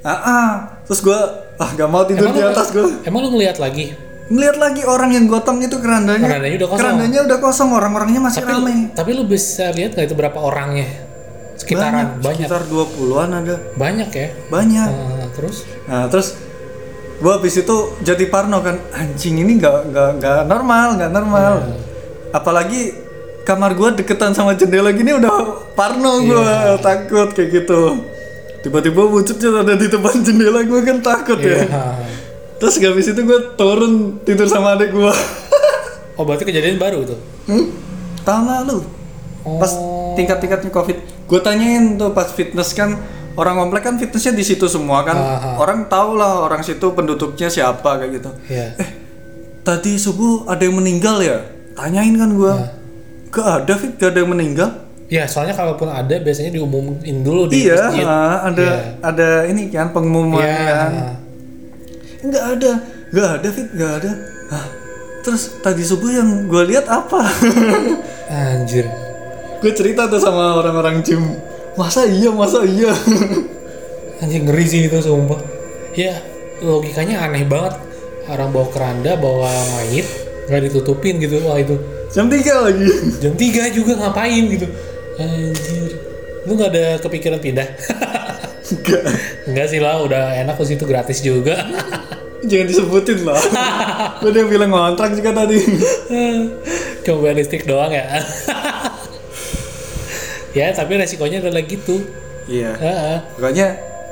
[SPEAKER 1] ah, ah. terus gue ah gak mau tidur
[SPEAKER 2] Emang
[SPEAKER 1] di
[SPEAKER 2] lu-
[SPEAKER 1] atas gue
[SPEAKER 2] Emang lu ngeliat lagi?
[SPEAKER 1] melihat lagi orang yang gotong itu kerandanya
[SPEAKER 2] Kerandanya udah kosong.
[SPEAKER 1] kerandanya udah kosong orang-orangnya masih
[SPEAKER 2] Tapi
[SPEAKER 1] ramai
[SPEAKER 2] tapi lu bisa lihat nggak itu berapa orangnya? Sekitaran banyak.
[SPEAKER 1] sekitar 20-an ada
[SPEAKER 2] Banyak ya.
[SPEAKER 1] banyak
[SPEAKER 2] Eh, terus
[SPEAKER 1] Nah terus gue habis itu jadi parno kan anjing ini nggak nggak nggak normal nggak normal.
[SPEAKER 2] Iya.
[SPEAKER 1] Apalagi kamar gue deketan sama jendela gini udah parno
[SPEAKER 2] Iya.
[SPEAKER 1] gue takut kayak gitu. Tiba-tiba wujud ada di depan jendela gue kan takut ya.
[SPEAKER 2] Ah.
[SPEAKER 1] Terus habis itu gue turun tidur sama adik gue.
[SPEAKER 2] Oh berarti kejadian baru tuh? Oh,
[SPEAKER 1] hmm? Tahun lalu pas tingkat-tingkatnya covid gue tanyain tuh pas fitness kan orang komplek kan fitnessnya di situ semua kan
[SPEAKER 2] Aha.
[SPEAKER 1] orang tau lah orang situ penduduknya siapa kayak gitu
[SPEAKER 2] Iya.
[SPEAKER 1] tadi subuh ada yang meninggal ya tanyain kan gue gak ada fit gak ada yang meninggal
[SPEAKER 2] Ya soalnya kalaupun ada biasanya diumumin dulu di
[SPEAKER 1] iya
[SPEAKER 2] masjid.
[SPEAKER 1] ah, ada
[SPEAKER 2] Iya.
[SPEAKER 1] ada ini kan pengumuman
[SPEAKER 2] Iya.
[SPEAKER 1] kan nggak ada nggak ada fit nggak ada Hah, terus tadi subuh yang gue lihat apa
[SPEAKER 2] Anjir.
[SPEAKER 1] gue cerita tuh sama orang-orang gym masa iya masa iya
[SPEAKER 2] Anjir ngeri sih itu sumpah. Ya logikanya aneh banget. Orang bawa keranda, bawa mayit, nggak ditutupin gitu. Wah itu
[SPEAKER 1] jam 3 lagi
[SPEAKER 2] jam 3 juga ngapain gitu. Anjir. Lu nggak ada kepikiran pindah?
[SPEAKER 1] enggak
[SPEAKER 2] Enggak sih lah, udah enak kok situ gratis juga.
[SPEAKER 1] jangan disebutin lah gue dia bilang ngontrak juga tadi
[SPEAKER 2] Cuma bayar listrik doang ya. ya tapi resikonya adalah gitu.
[SPEAKER 1] iya
[SPEAKER 2] Heeh.
[SPEAKER 1] pokoknya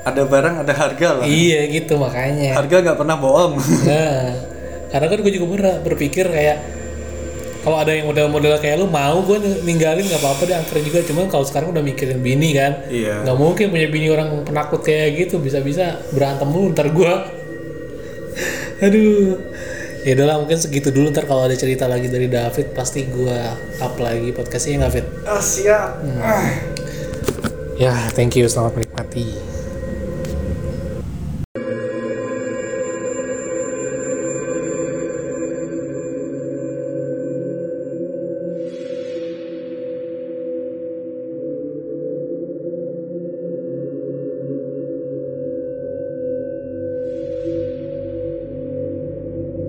[SPEAKER 1] ada barang ada harga lah
[SPEAKER 2] Iya gitu makanya.
[SPEAKER 1] harga nggak pernah bohong
[SPEAKER 2] Nah, karena kan gue juga pernah berpikir kayak kalau ada yang model-model kayak lu mau gue ninggalin nggak apa-apa deh angker juga cuman kalau sekarang udah mikirin bini kan
[SPEAKER 1] iya
[SPEAKER 2] nggak mungkin punya bini orang penakut kayak gitu bisa-bisa berantem dulu ntar gue aduh ya udahlah mungkin segitu dulu ntar kalau ada cerita lagi dari David pasti gue up lagi ya podcastnya nggak Fit
[SPEAKER 1] ah siap Ah.
[SPEAKER 2] ya thank you selamat menikmati